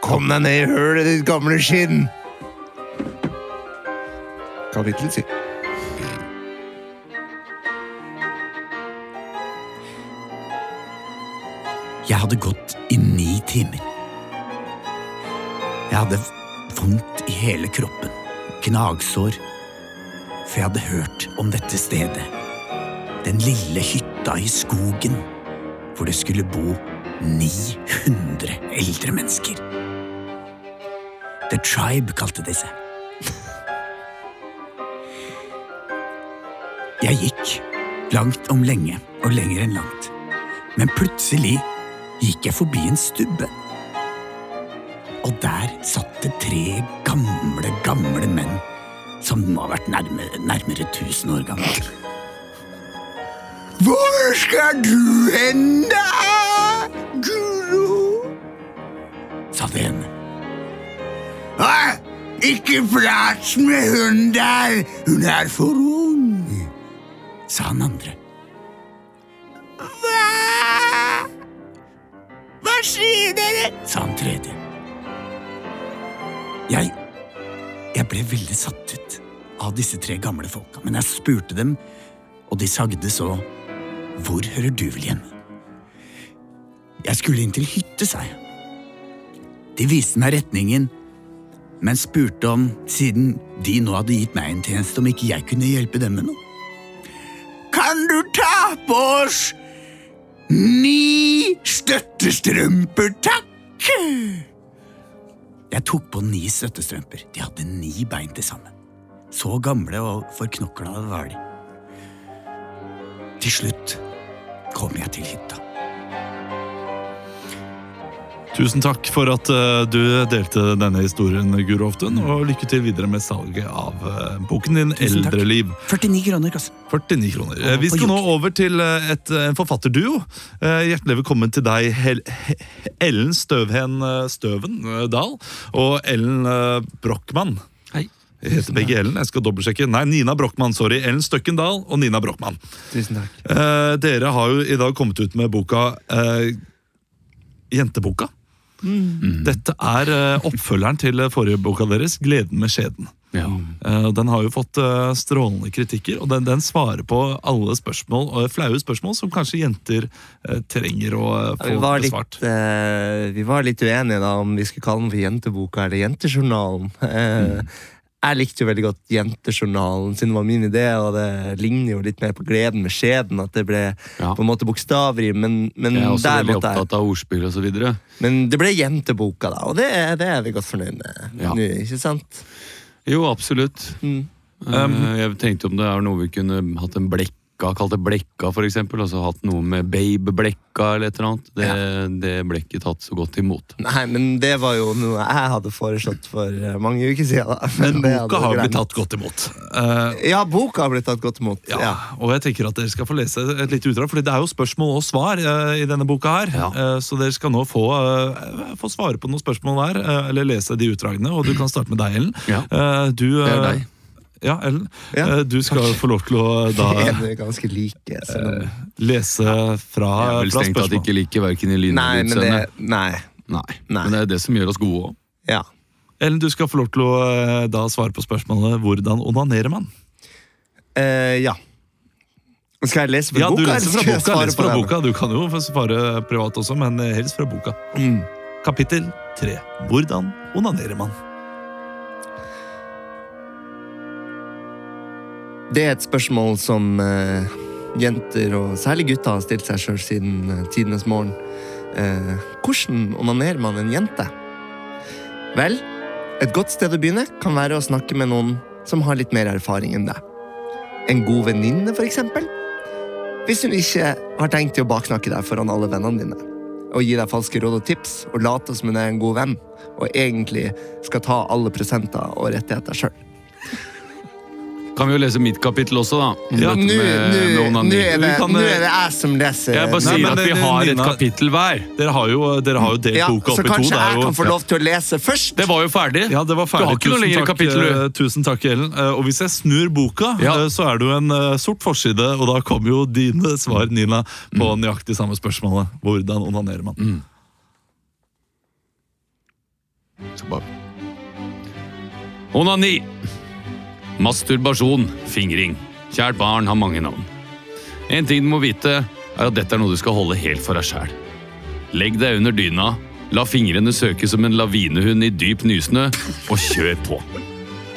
Kom deg ned i hølet, ditt gamle skinn! Kapittel si. Jeg hadde gått i ni timer. Jeg hadde vondt i hele kroppen, gnagsår, for jeg hadde hørt om dette stedet. Den lille hytta i skogen, hvor det skulle bo 900 eldre mennesker. The Tribe kalte de seg. Jeg gikk langt om lenge, og lenger enn langt. Men plutselig gikk jeg forbi en stubbe. Og der satt det tre gamle, gamle menn som må ha vært nærme, nærmere tusen år gamle. Hvor skal du hen, da, Guro? sa det ene. «Hæ? Ikke prat med hun der, hun er for ung, sa han andre. Hva? Hva sier dere? sa han tredje. Jeg Jeg ble veldig satt ut av disse tre gamle folka, men jeg spurte dem, og de sagde så Hvor hører du vel hjemme? Jeg skulle inn til hytte, sa jeg. De viste meg retningen, men spurte om, siden de nå hadde gitt meg en tjeneste, om ikke jeg kunne hjelpe dem med noe. Kan du ta på oss Ni støttestrømper, takk! Jeg tok på ni støttestrømper. De hadde ni bein til sammen. Så gamle og forknokla var de. Til slutt kom jeg til hytta. Tusen takk for at eh, du delte denne historien, Guro Hoftun, og lykke til videre med salget av eh, boken din Tusen takk. Eldreliv. 49 kroner, kasse. 49 kroner. Eh, Vi på skal nå jord. over til eh, et, eh, en forfatterduo. Eh, Hjertelig velkommen til deg, Hel He- Ellen Støvhen eh, Støven eh, Dahl og Ellen eh, Brochmann. Hei. Jeg heter begge Ellen. jeg skal dobbeltsjekke. Nei, Nina Brochmann. Sorry. Ellen Støkken Dahl og Nina Brochmann. Tusen takk. Eh, dere har jo i dag kommet ut med boka eh, Jenteboka. Mm. Mm. Dette er eh, oppfølgeren til eh, forrige boka deres, 'Gleden med skjeden'. Mm. Eh, og den har jo fått eh, strålende kritikker, og den, den svarer på alle spørsmål, og flaue spørsmål som kanskje jenter eh, trenger å eh, vi, få var litt, besvart. eh, vi var litt uenige da om vi skulle kalle den for Jenteboka eller Jentejournalen. Eh, Jeg likte jo veldig godt Jentejournalen, siden det var min idé, og det ligner jo litt mer på Gleden med skjeden, at det ble Ja. på en måte bokstaver i, men, men Jeg er Mm, også der veldig måtte jeg. opptatt av ordspill og så videre. Men det ble Jenteboka, da, og det, er- det er vi godt fornøyd med Ja. nå, ikke sant? Jo, absolutt. Mm. Eh, jeg tenkte om det er noe vi kunne hatt en blekka, kalt det blekka for eksempel, altså hatt noe med babe-blekka eller et eller annet. Det, det ble ikke tatt så godt imot. Nei, men det var jo noe jeg hadde foreslått for eh, mange uker siden. Da. Men det hadde boka har glemt. blitt tatt godt imot. Eh, Ja, boka har blitt tatt godt imot. ja. Ja. Og jeg tenker at dere skal få lese et lite utdrag, Fordi det er jo spørsmål og svar eh, i denne boka. her Eh, Så dere skal nå få, eh, få svare på noen spørsmål hver, eh, eller lese de utdragene. Og du kan starte med deg, Ellen. Ja. Eh, du, Det er eh, deg. Ja, Ellen. Ja. Eh, Du skal få lov til å eh, da Vi er ganske like. selv om- lese fra, Jeg er vel fra strengt tatt spørsmål. ikke liker hverken i lyden Nei, eller men det utseendet. Nei. Nei. Nei. Men det er det som gjør oss gode òg. Ja. Ellen, du skal få lov til å eh, da svare på spørsmålet hvordan onanerer man? Eh, ja. Skal jeg lese fra Ja, du boka? eller leser fra skal jeg boka. svare Les på fra den? boka. Du kan jo få svare privat også, men eh, helst fra boka. Kapittel tre. Hvordan onanerer man? Det er et spørsmål som eh, jenter, og særlig gutter, har stilt seg sjøl siden eh, tidenes morgen. Eh, hvordan onanerer man en jente? Vel, et godt sted å begynne kan være å snakke med noen som har litt mer erfaring enn deg. En god venninne, for eksempel. Hvis hun ikke har tenkt til å baksnakke deg foran alle vennene dine. Og gi deg falske råd og tips, og late som hun er en god venn, og egentlig skal ta alle prosenter og rettigheter sjøl. Kan vi jo lese mitt kapittel også, da? om Ja, dette nå med- med nå- onani. nå er det kan, nå eh, er det jeg som leser. Jeg bare Nei, sier men at vi det- har et Nina- kapittel hver. Dere har jo, dere har jo delt ja, boka så opp i to. kanskje det er jeg jo- kan få Ja. lov til å lese først? Det var jo ferdig. Ja, det var ferdig. Du har ikke noe Tusen lengre takk, kapittel, du. eh, Tusen takk, Ellen. Eh, Og hvis jeg snur boka, Ja. eh, så er det jo en eh, sort forside, og da kommer jo dine svar, Nina, på Mm. nøyaktig samme spørsmålet. Hvordan onanerer man? Onani. Masturbasjon. Fingring. Kjært barn har mange navn. En ting du må vite, er at dette er noe du skal holde helt for deg sjæl. Legg deg under dyna, la fingrene søke som en lavinehund i dyp nysnø, og kjør på.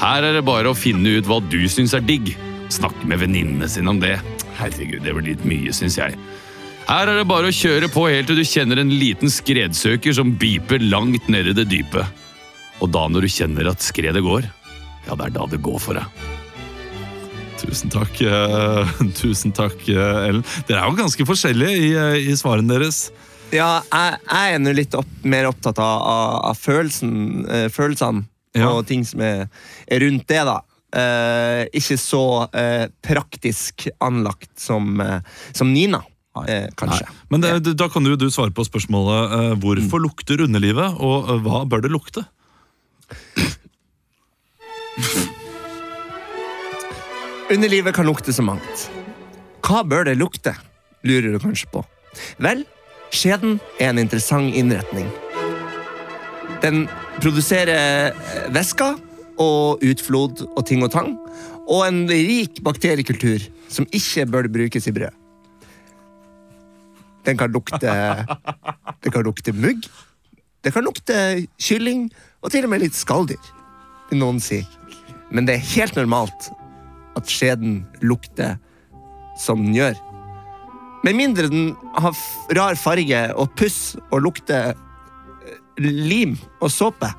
Her er det bare å finne ut hva du syns er digg. Snakke med venninnene sine om det. Herregud, det blir litt mye, syns jeg. Her er det bare å kjøre på helt til du kjenner en liten skredsøker som biper langt ned i det dype. Og da når du kjenner at skredet går, ja, det er da det går for deg. Tusen takk, eh, tusen takk eh, Ellen. Dere er jo ganske forskjellige i, eh, i svarene deres. Ja, jeg, jeg er nå litt opp, mer opptatt av, av, av følelsen, eh, følelsene Ja. og ting som er, er rundt det, da. Eh, ikke så eh, praktisk anlagt som, eh, som Nina, eh, kanskje. Men det, det- da kan jo du svare på spørsmålet eh, Mm. hvorfor lukter underlivet, og eh, hva bør det lukte? Underlivet kan lukte så mangt. Hva bør det lukte, lurer du kanskje på. Vel, skjeden er en interessant innretning. Den produserer eh, væsker og utflod og ting og tang, og en rik bakteriekultur som ikke bør brukes i brød. Den kan lukte Det kan lukte mugg. Det kan lukte kylling, og til og med litt skalldyr, vil noen si. Men det er helt normalt at skjeden lukter som den gjør. Med mindre den har f- rar farge og puss og lukter eh, lim og såpe,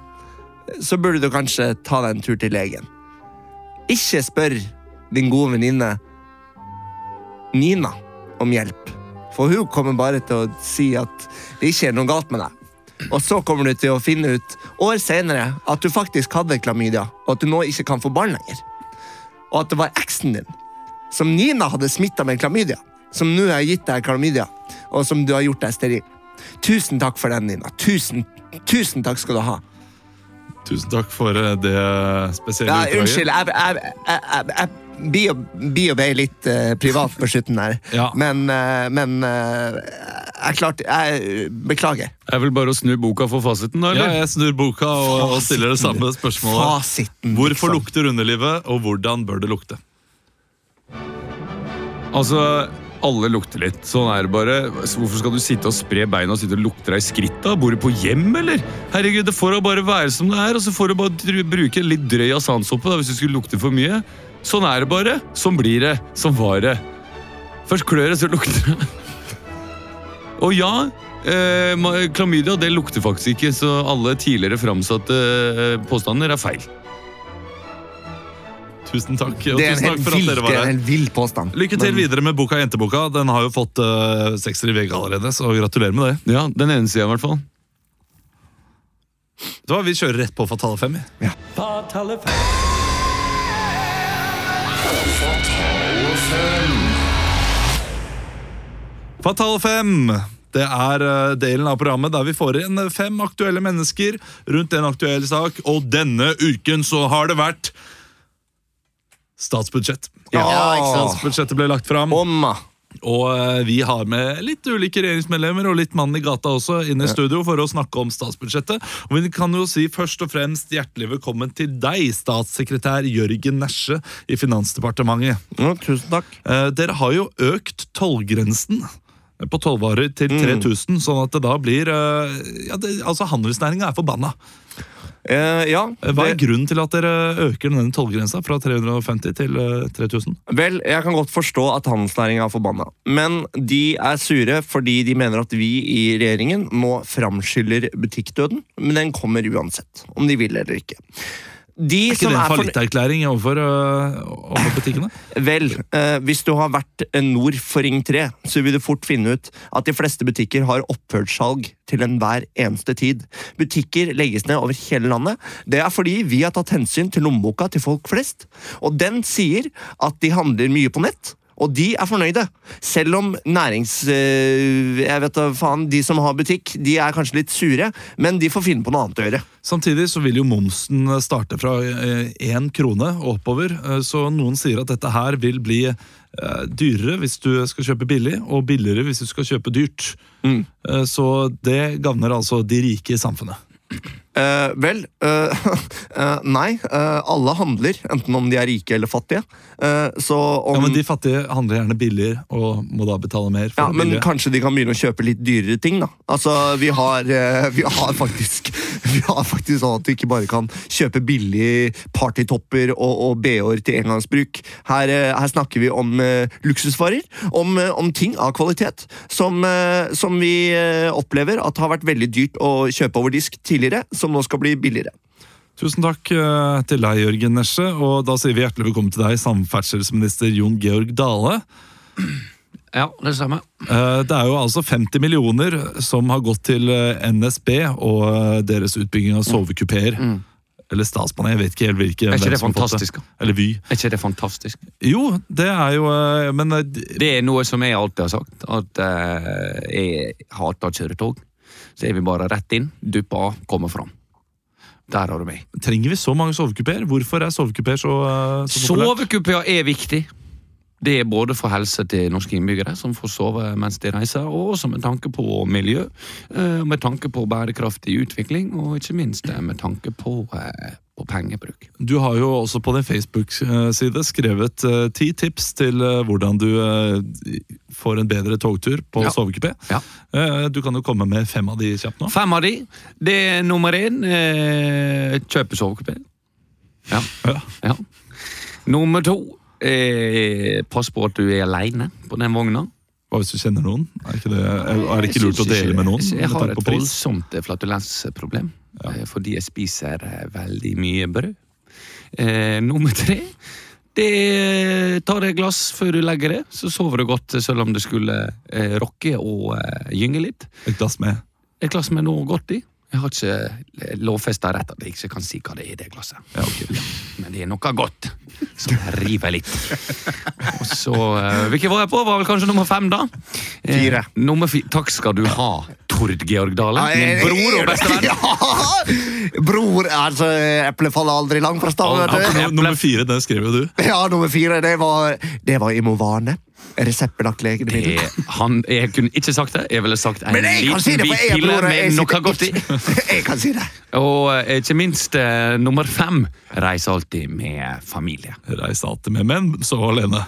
så burde du kanskje ta deg en tur til legen. Ikke spør din gode venninne Nina om hjelp, for hun kommer bare til å si at det ikke er noe galt med deg. Og så kommer du til å finne ut år senere at du faktisk hadde klamydia, og at du nå ikke kan få barn lenger og at det var eksen din, som Nina hadde smitta med klamydia, som nå har gitt deg klamydia, og som du har gjort deg steril. Tusen takk for den, Nina. Tusen, tusen takk skal du ha. Tusen takk for eh, det spesielle Ja, utdraget. unnskyld, jeg, jeg, jeg, jeg, jeg bi og, bi og ble litt eh, privat på slutten her, Ja. men, eh, men eh, jeg klarte Jeg beklager. Er vel bare å snu boka for fasiten, da? Ja, eller? jeg snur boka og, og stiller det samme spørsmålet. Fasiten. Hvorfor liksom. lukter underlivet, og hvordan bør det lukte? Altså, alle lukter litt. Sånn er det bare. Så Hvorfor skal du sitte og spre beina og sitte og lukte deg i skrittet? Bor du på hjem, eller? Herregud, det får da bare være som det er, og så får du bare dr- bruke litt drøy asansoppe da, hvis du skulle lukte for mye. Sånn er det bare. Sånn blir det. Sånn var det. Først klør det, så lukter det. Og ja, eh, ma- klamydia det lukter faktisk ikke, så alle tidligere framsatte eh, påstander er feil. Tusen takk. Og Det er en tusen takk helt for at vill, dere det var er en her. helt vill påstand. Lykke til videre med boka Jenteboka. Den har jo fått eh, sekser i VG allerede, så gratulerer med det. Ja, den ene sida i hvert fall. Det var, vi kjører rett på Fatale fem. vi. Fatal 5. Det er eh, delen av programmet der vi får inn eh, fem aktuelle mennesker rundt en aktuell sak, og denne uken så har det vært statsbudsjett. Ja, ikke sant. Statsbudsjettet ble lagt fram. Omma. Og eh, vi har med litt ulike regjeringsmedlemmer og litt mann i gata også inn i studio for å snakke om statsbudsjettet. Og vi kan jo si først og fremst hjertelig velkommen til deg, statssekretær Jørgen Nesje i Finansdepartementet. Ja, tusen takk. Eh, Dere har jo økt tollgrensen på tollvarer til Mm. 3000, sånn at det da blir eh, ja, det, Altså, handelsnæringa er forbanna. Eh, ja, Eh, Hva er det, grunnen til at dere øker denne tollgrensa fra 350 til eh, 3000? vel, jeg kan godt forstå at handelsnæringen er forbanna. Men de er sure fordi de mener at vi i regjeringen nå framskyller butikkdøden. Men den kommer uansett, om de vil eller ikke. De Ikke som det en er for... fallitterklæring overfor, eh, overfor butikkene? Vel, eh, hvis du har vært nord for Ring 3, så vil du fort finne ut at de fleste butikker har opphørssalg til enhver eneste tid. Butikker legges ned over hele landet. Det er fordi vi har tatt hensyn til lommeboka til folk flest, og den sier at de handler mye på nett. Og de er fornøyde, selv om nærings... eh, Jeg vet da faen, De som har butikk, de er kanskje litt sure, men de får finne på noe annet å gjøre. Samtidig så vil jo momsen starte fra én krone og oppover, eh, så noen sier at dette her vil bli eh, dyrere hvis du skal kjøpe billig, og billigere hvis du skal kjøpe dyrt. Mm. Eh, Så det gagner altså de rike i samfunnet. Eh, vel, eh, eh, nei. eh, alle handler, enten om de er rike eller fattige. Eh, så om, Ja, men De fattige handler gjerne billigere og må da betale mer. for Ja, det men billige. kanskje de kan begynne å kjøpe litt dyrere ting, da. Altså, vi har, eh, vi har faktisk Vi har faktisk sånn at du ikke bare kan kjøpe billige partytopper og, og BH-er til engangsbruk. Her, eh, her snakker vi om eh, luksusvarer. Om, eh, om ting av kvalitet som, eh, som vi eh, opplever at har vært veldig dyrt å kjøpe over disk tidligere, som nå skal bli billigere. Tusen takk eh, til deg, Jørgen Nesje. Og da sier vi hjertelig velkommen til deg, samferdselsminister Jon Georg Dale. Ja, det er det samme. Eh, Det er jo altså 50 millioner som har gått til eh, NSB og eh, deres utbygging av sovekupeer. Eller Statsbanen, jeg vet ikke helt hvilke. Mm. Er ikke hvem det som har fått fantastisk? da? Eller Vy. Er ikke det fantastisk? Jo, det er jo eh, Men eh, d- Det er noe som jeg alltid har sagt, at eh, jeg hater å kjøre tog. Så jeg vil bare rett inn, duppe av, komme fram. Der har du meg. trenger vi så mange sovekupeer? Hvorfor er sovekupeer så, eh, så populært? Sovekupeer er viktig. Det er både for helse til norske innbyggere, som får sove mens de reiser, og også med tanke på miljø, eh, med tanke på bærekraftig utvikling, og ikke minst eh, med tanke på, eh, på pengebruk. Du har jo også på din Facebook-side skrevet eh, ti tips til eh, hvordan du eh, får en bedre togtur på Ja. sovekupé. Ja. Eh, Du kan jo komme med fem av de kjapt nå. Fem av de. Det er nummer én eh, kjøpe sovekupé. Ja. Ja. ja. Nummer to eh, pass på at du er aleine på den vogna. Hva hvis du kjenner noen? Er, ikke det, er det ikke lurt å Jeg synes dele med noen? Jeg, jeg med har tanke et på pris? voldsomt eh, flatulensproblem eh, fordi jeg spiser eh, veldig mye brød. Eh, nummer tre det er, tar et glass før du legger det, så sover du godt eh, selv om det skulle eh, rokke og eh, gynge litt. Et glass med. Et glass med noe godt i. Jeg har ikke lovfesta rett at jeg ikke kan si hva det er i det glasset. Ja, Men det er noe godt som jeg river litt. Og så, eh, Hvilken var jeg på? Var vel kanskje nummer fem, da? Eh, Fire. Nummer fi Takk skal du ha, Tord Georg Dale. Min bror og bestevenn. Ja! Bror, altså, eplet faller aldri langt fra stammen, Ja, vet du. nummer- nummer fire, den skrev jo du. Ja, nummer fire, det var, det var Imovane. Reseptbelagt legemiddel. Det- Eh, Han, jeg kunne ikke sagt det. Jeg ville sagt en Men jeg liten kan si det, for hvit jeg er pille bror. og jeg med noe sitter godt i. ikke- Jeg kan si det. Og eh, ikke minst eh, nummer fem. Reis alltid med familie. Reis alltid med menn, så alene.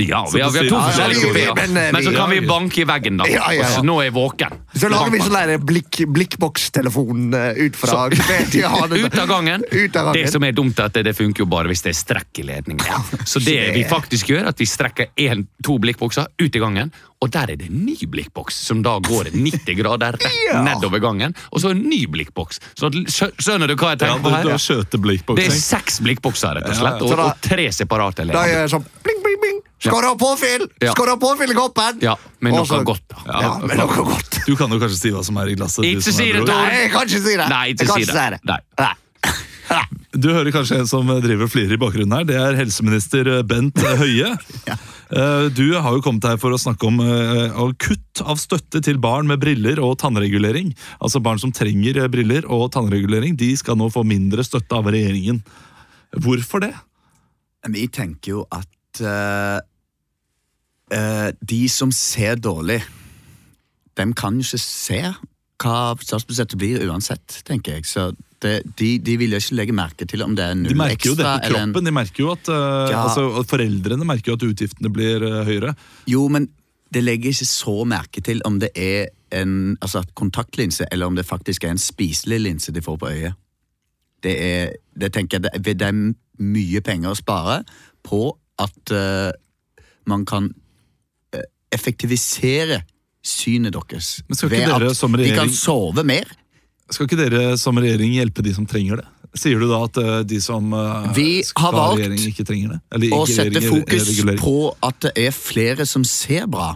Ja, Så vi har, du sier- vi har to Ja, ja, forskjellige vi- kopier. men, eh, Men så vi- kan ja, vi vi- banke i veggen, da. Ja, ja, ja. Og så nå er jeg våken. Så lager vi Bank, sånn der blikk, blikkbokstelefonen eh, ut fra bank. Ut av gangen. Ut av gangen. Det som er dumt, er at det funker jo bare hvis det er strekk i ledningen. Så det vi faktisk gjør, at vi strekker en, to blikkbokser ut i gangen, og der er det en ny blikkboks som da går 90 grader rett Ja. nedover gangen, og så en ny blikkboks. Så at- skjø- skjønner du hva jeg Ja, tenker du, på her? du har skjøteblikkboksing. Det er seks blikkbokser, rett og slett, Så og, da- og tre Da separate gjør ledninger. jeg sånn bling, bling, bling. Skår av påfyll! Ja. Skår av påfyll i koppen! Ja, men Og noe så- godt, da. Ja, men noe godt. Du kan jo kanskje si hva som er i glasset. du Ikke som er si det, bror. Tor. Nei, jeg kan ikke si det. Nei, Jeg ikke kan si det. Nei. Nei. Du hører kanskje en som driver og flirer i bakgrunnen her. Det er helseminister eh, Bent Høie. Eh, Du har jo kommet her for å snakke om, eh, om kutt av støtte til barn med briller og tannregulering. Altså barn som trenger eh, briller og tannregulering, de skal nå få mindre støtte av regjeringen. Hvorfor det? Vi tenker jo at eh, eh, de som ser dårlig, dem kan jo ikke se hva statsbudsjettet blir uansett, tenker jeg. Så det, de, de vil jo ikke legge merke til om det er De null merker jo det ekstra på eller en- kroppen. De merker jo at, eh, Ja. altså, og Foreldrene merker jo at utgiftene blir eh, høyere. Jo, men det legger ikke så merke til om det er en altså at kontaktlinse, eller om det faktisk er en spiselig linse de får på øyet. Det er, det tenker jeg, det, det er mye penger å spare på at eh, man kan eh, effektivisere synet deres. Men skal ikke ved dere at som de regjering- kan sove mer. Skal ikke dere som regjering hjelpe de som trenger det? Sier du da at eh, de som eh, Vi skal har valgt regjering, ikke trenger det? Eller Og ikke sette regjering, eh, fokus regulering? på at det er flere som ser bra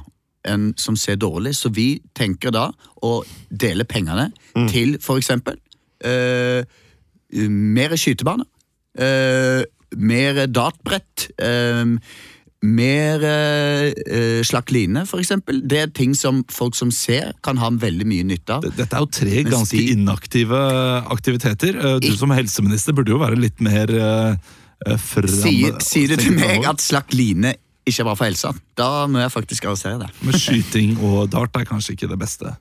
enn som ser dårlig. Så vi tenker da å dele pengene Mm. til for eksempel eh, mer skytebaner, eh, mer datbrett, eh, mer eh, eh, slakk line, for eksempel. Det er ting som folk som ser, kan ha veldig mye nytte av. D- Dette er jo tre Mens ganske de- inaktive aktiviteter. Eh, Du Ik- som helseminister burde jo være litt mer eh, eh, fram... Sier, sier du tenke til meg fremover. at slakk line ikke er bra for helsa? Da må jeg faktisk arrestere deg. Men skyting og dart er kanskje ikke det beste.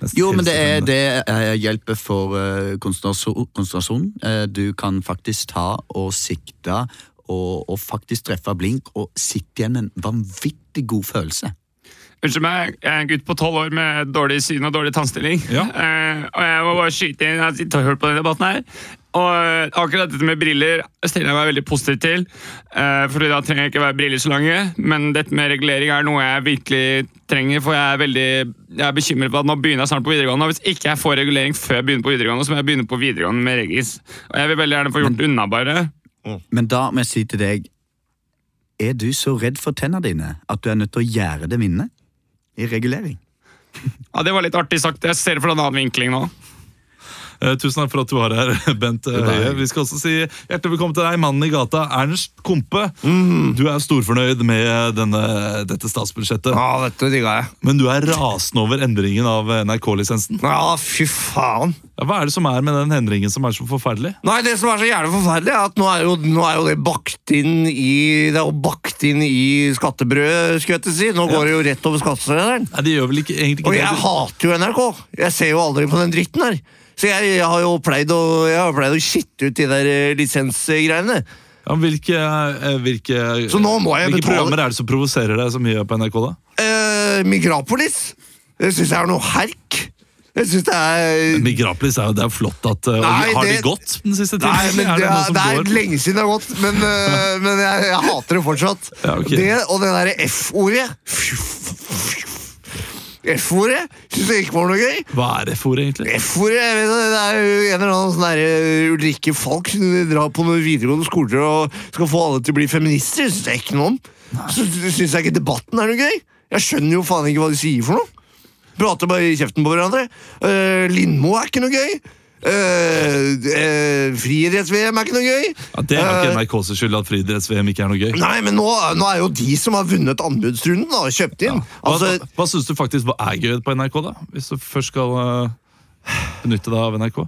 Mest Jo, men det, er, helsefremmende. det eh, hjelper for eh, konsentrasjon. konsentrasjon. Eh, Du kan faktisk ta og sikte og, og faktisk treffe blink og sitte igjen med en vanvittig god følelse. Unnskyld meg, jeg er en gutt på tolv år med dårlig syn og dårlig tannstilling. Ja. Eh, og jeg må bare skyte inn at jeg har hørt på denne debatten her. Og eh, akkurat dette med briller stiller jeg meg veldig positiv til. Uh, for da trenger jeg ikke være briller så lange. Men dette med regulering er noe jeg virkelig trenger, for jeg er veldig jeg er bekymret for at nå begynner jeg snart på videregående. Og hvis ikke jeg får regulering før jeg begynner på videregående, så må jeg begynne på videregående med regis. Og jeg vil veldig gjerne få gjort det unna, bare. Men da må jeg si til deg, er du så redd for tennene dine at du er nødt til å gjøre det minnet i regulering? Ja, Det var litt artig sagt. Jeg ser det fra en annen vinkling nå. Eh, Tusen takk for at du var her, Bent eh, Høie. Vi skal også si hjertelig velkommen til deg, mannen i gata, Ernst Kompe. Mhm. Du er storfornøyd med denne, dette statsbudsjettet, Ja, dette digga jeg. men du er rasende over endringen av NRK-lisensen. Ja, fy faen. Ja, hva er det som er med den endringen som er så forferdelig? Nei, det som er så jævlig forferdelig, er at nå er jo, nå er jo det bakt inn i Det er jo bakt inn i skattebrød, skulle jeg til å si. Nå går det jo rett over skatteseddelen. Nei, det gjør vel ikke, egentlig Og ikke jeg hater jo NRK. Jeg ser jo aldri på den dritten her. Så jeg, jeg har jo pleid å, jeg har pleid å skitte ut de der eh, lisensgreiene. Ja, men hvilke, eh, hvilke, Så nå må jeg hvilke betale- programmer er det som provoserer deg så mye på NRK, da? Eh, Migrapolis. Jeg syns det er noe herk. Jeg syns det er Migrapolis er jo det er flott at eh, og Nei, Har de det- gått den siste tiden? Nei, men Er det, det noe er, som det er går? lenge siden det har gått, men, eh, men jeg, jeg hater det fortsatt. Ja, ok. Det og det derre F-ordet. F-ordet syns jeg ikke var noe gøy. Hva er det for egentlig? F-ordet, jeg vet ikke, det er jo en eller annen sånn derre Ulrikke Falk som drar på noen videregående skoler og skal få alle til å bli feminister. Det syns jeg ikke noe om. Så syns jeg ikke debatten er noe gøy. Jeg skjønner jo faen ikke hva de sier for noe. Prater bare i kjeften på hverandre. Eh, Lindmo er ikke noe gøy. Eh, eh, Friidretts-VM er ikke noe gøy. Ja, det er Eh, ikke NRKs skyld at friidretts-VM ikke er noe gøy. Nei, men nå, nå er jo de som har vunnet anbudsrunden, da, kjøpt inn. Hva, Altså, hva syns du faktisk hva er gøy på NRK, da? Hvis du først skal eh, benytte deg av NRK?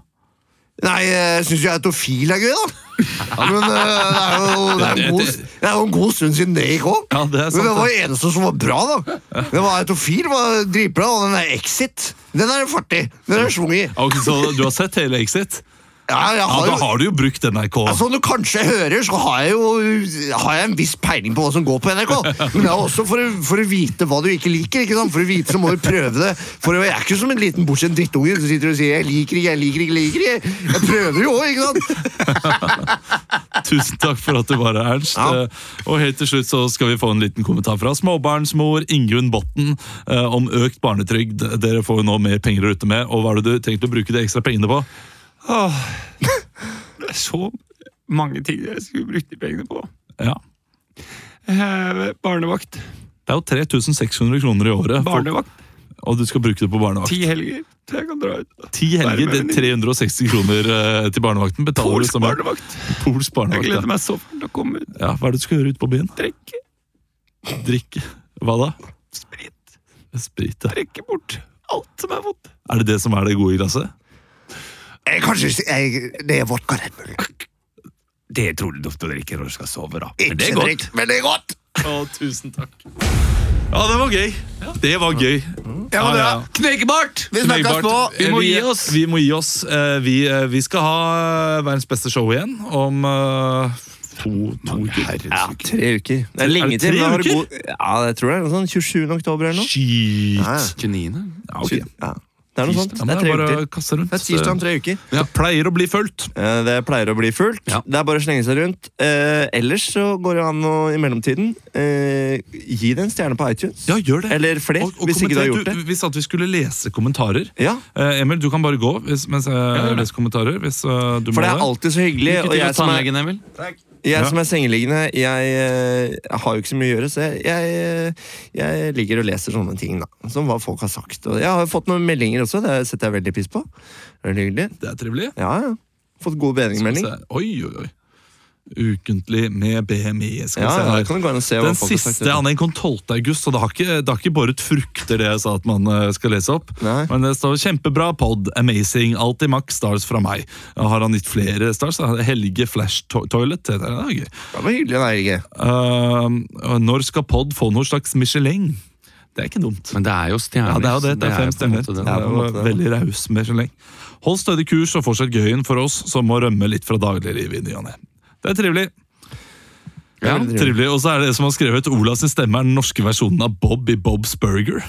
Nei, eh, jeg syns jo autofil er gøy, da. Men eh, det er jo, det er en god, det er jo en god stund siden det gikk òg. Ja, det er sant, Men det var det. det eneste som var bra, da. Det var autofil, var dritbra. Og den der Exit, den er fartig. Den er svung i. Ja, ok, så du har sett hele Exit? Ja, jeg Ja, har Da Altså- jo har du jo brukt NRK. som du kanskje hører, så har jeg jo har jeg en viss peiling på hva som går på NRK. Men det er også for å, for å vite hva du ikke liker. ikke sant? For å vite så må du prøve det. For Jeg er ikke som en liten bortsett drittunge som sitter og sier 'jeg liker ikke, jeg liker ikke', jeg liker ikke. Jeg prøver jo òg, ikke sant? Tusen takk for at du var her, Ernst. Ja. Eh, Og helt til slutt så skal vi få en liten kommentar fra småbarnsmor Ingunn Botten eh, om økt barnetrygd. Dere får jo nå mer penger å rutte med, og hva er det du tenkte å bruke de ekstra pengene på? Det er så mange ting jeg skulle brukt de pengene på. Ja, Eh, Barnevakt. Det er jo 3600 kroner i året, for, Barnevakt. og du skal bruke det på barnevakt. Ti helger til jeg kan dra ut. Ti helger, det er 360 kroner eh, til barnevakten. Betaler du Polsk som er barnevakt. polsk Jeg gleder barnevakt. meg så fælt til å komme ut. Ja. Ja, hva er det du skal gjøre ute på byen? Trekke, Drikke. Hva da? sprit, Sprit, ja. trekke bort alt som er vondt. Er det det som er det gode i glasset? Jeg, kanskje si- jeg, Det er vodka Red Bull. Det er trolig duft å drikke når du skal sove, da. Ikke drikk, men det er godt! Å, tusen takk. Ja, det var gøy. Det var gøy. Ja, men det Ja, er- ja. Knekebart! Vi snakkes Knøybart. på! Vi må gi oss. Vi må gi oss. Eh, Vi, eh, vi skal ha eh, verdens beste show igjen om eh, to, to uker. Ja. Tre uker. Det er lenge det til. tre men da har du uker? god- Ja, jeg tror det er noe sånn 27. oktober eller noe. Ja, Shit. ja. 29. Ja, ok. Ja. Det er noe sånt. Ja, men Det er tre bare uker til. å kaste rundt. Det er tirsdag om tre uker. Det pleier å bli fulgt. Eh, Det pleier å bli fullt. Ja. Det er bare å slenge seg rundt. Eh, ellers så går det an å i mellomtiden eh, gi det en stjerne på iTunes. Ja, gjør det. Eller flere, Og- og hvis ikke du har kommenter. gjort det. Vi sa at vi skulle lese kommentarer. Ja, Eh, Emil, du kan bare gå hvis, mens jeg leser kommentarer. Hvis eh, du For må det er alltid så hyggelig. Lykke Og til jeg hos som er, tannlegen, Emil. jeg Ja. som er sengeliggende, jeg, eh, har jo ikke så mye å gjøre, så jeg, jeg, jeg ligger og leser sånne ting, da. Som hva folk har sagt. Og jeg har jo fått noen meldinger også, det setter jeg veldig pris på. Veldig hyggelig. Det er trivelig. Ja, ja. Fått god bedringmelding. Skal vi se. Oi, oi, oi. Ukentlig med BMI. Skal vi Ja, se ja, her. det kan du gå inn og se hva Den folk har sagt. siste han er den kom 12. august, så det har ikke, det har ikke båret frukter, det jeg sa at man eh, skal lese opp. Nei. Men det står 'kjempebra pod', 'amazing', alltid maks stars fra meg. Ja, Har han gitt flere stars? da? Helge Flash to Toilet. Det der er gøy. Det var hyggelig, da, Helge. Eh, og når skal pod få noe slags Michelin? Det er ikke dumt. Men det er jo stjerner. Ja, det er jo det. Det er fem på en stemmer. måte det. Det er jo veldig raus med så lenge. Hold stødig kurs og fortsett gøyen for oss som må rømme litt fra dagliglivet i ny og ne. Det er trivelig. Ja, trivelig. Og så er det det som har skrevet Ola sin stemme er den norske versjonen av Bob i Bob's Burger.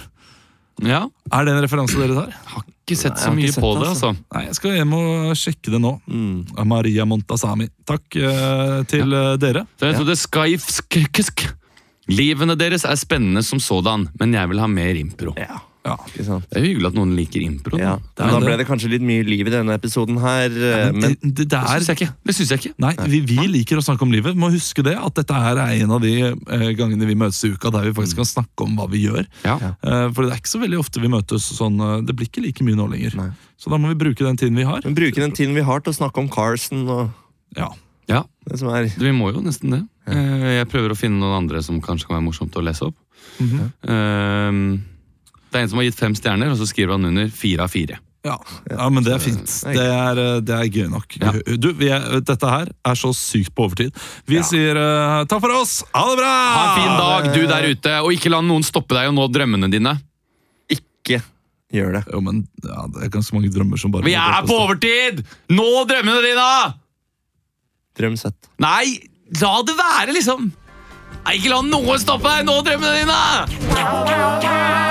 Ja, Er det en referanse dere tar? Ikke sett så Nei, mye jeg har ikke på sett det, det, altså. Nei, jeg skal hjem og sjekke det nå. Mm. Av Maria Montazami. Takk eh, til eh, dere. Så jeg trodde skaifsk... ksk. Livene deres er spennende som sådan, men jeg vil ha mer impro. Ja. Ja. Ikke sant? Det er hyggelig at noen liker impro. Ja, er da. men Da det. ble det kanskje litt mye liv i denne episoden her. eh, Men Det, det, det Det er syns jeg ikke. Det synes jeg ikke. Nei, vi, vi liker å snakke om livet. Vi Må huske det, at dette her er en av de eh, gangene vi møtes i uka der vi Mm. faktisk kan snakke om hva vi gjør. Ja. Eh, for det er ikke så veldig ofte vi møtes sånn eh, Det blir ikke like mye nå lenger. Så da må vi bruke den tiden vi har. men bruke den tiden vi har til å snakke om Carson og Ja. ja, det som er Vi må jo nesten det. Eh, Jeg prøver å finne noen andre som kanskje kan være morsomt å lese opp. Mhm. Eh, Det er en som har gitt fem stjerner, og så skriver han under fire av fire. Ja. ja, men det er fint. Det er, eh, det er gøy nok. Ja. Du, vi er, Dette her er så sykt på overtid. Vi sier eh, takk for oss! Ha Ah, det bra! Ha en fin dag, du der ute, og ikke la noen stoppe deg og nå drømmene dine. Ikke gjør det. Jo, men ja, Det er ganske mange drømmer som bare Vi er på overtid! Nå drømmene dine! Drøm søtt. Nei, la det være, liksom! Nei, ikke la noe stoppe deg! Nå drømmene dine!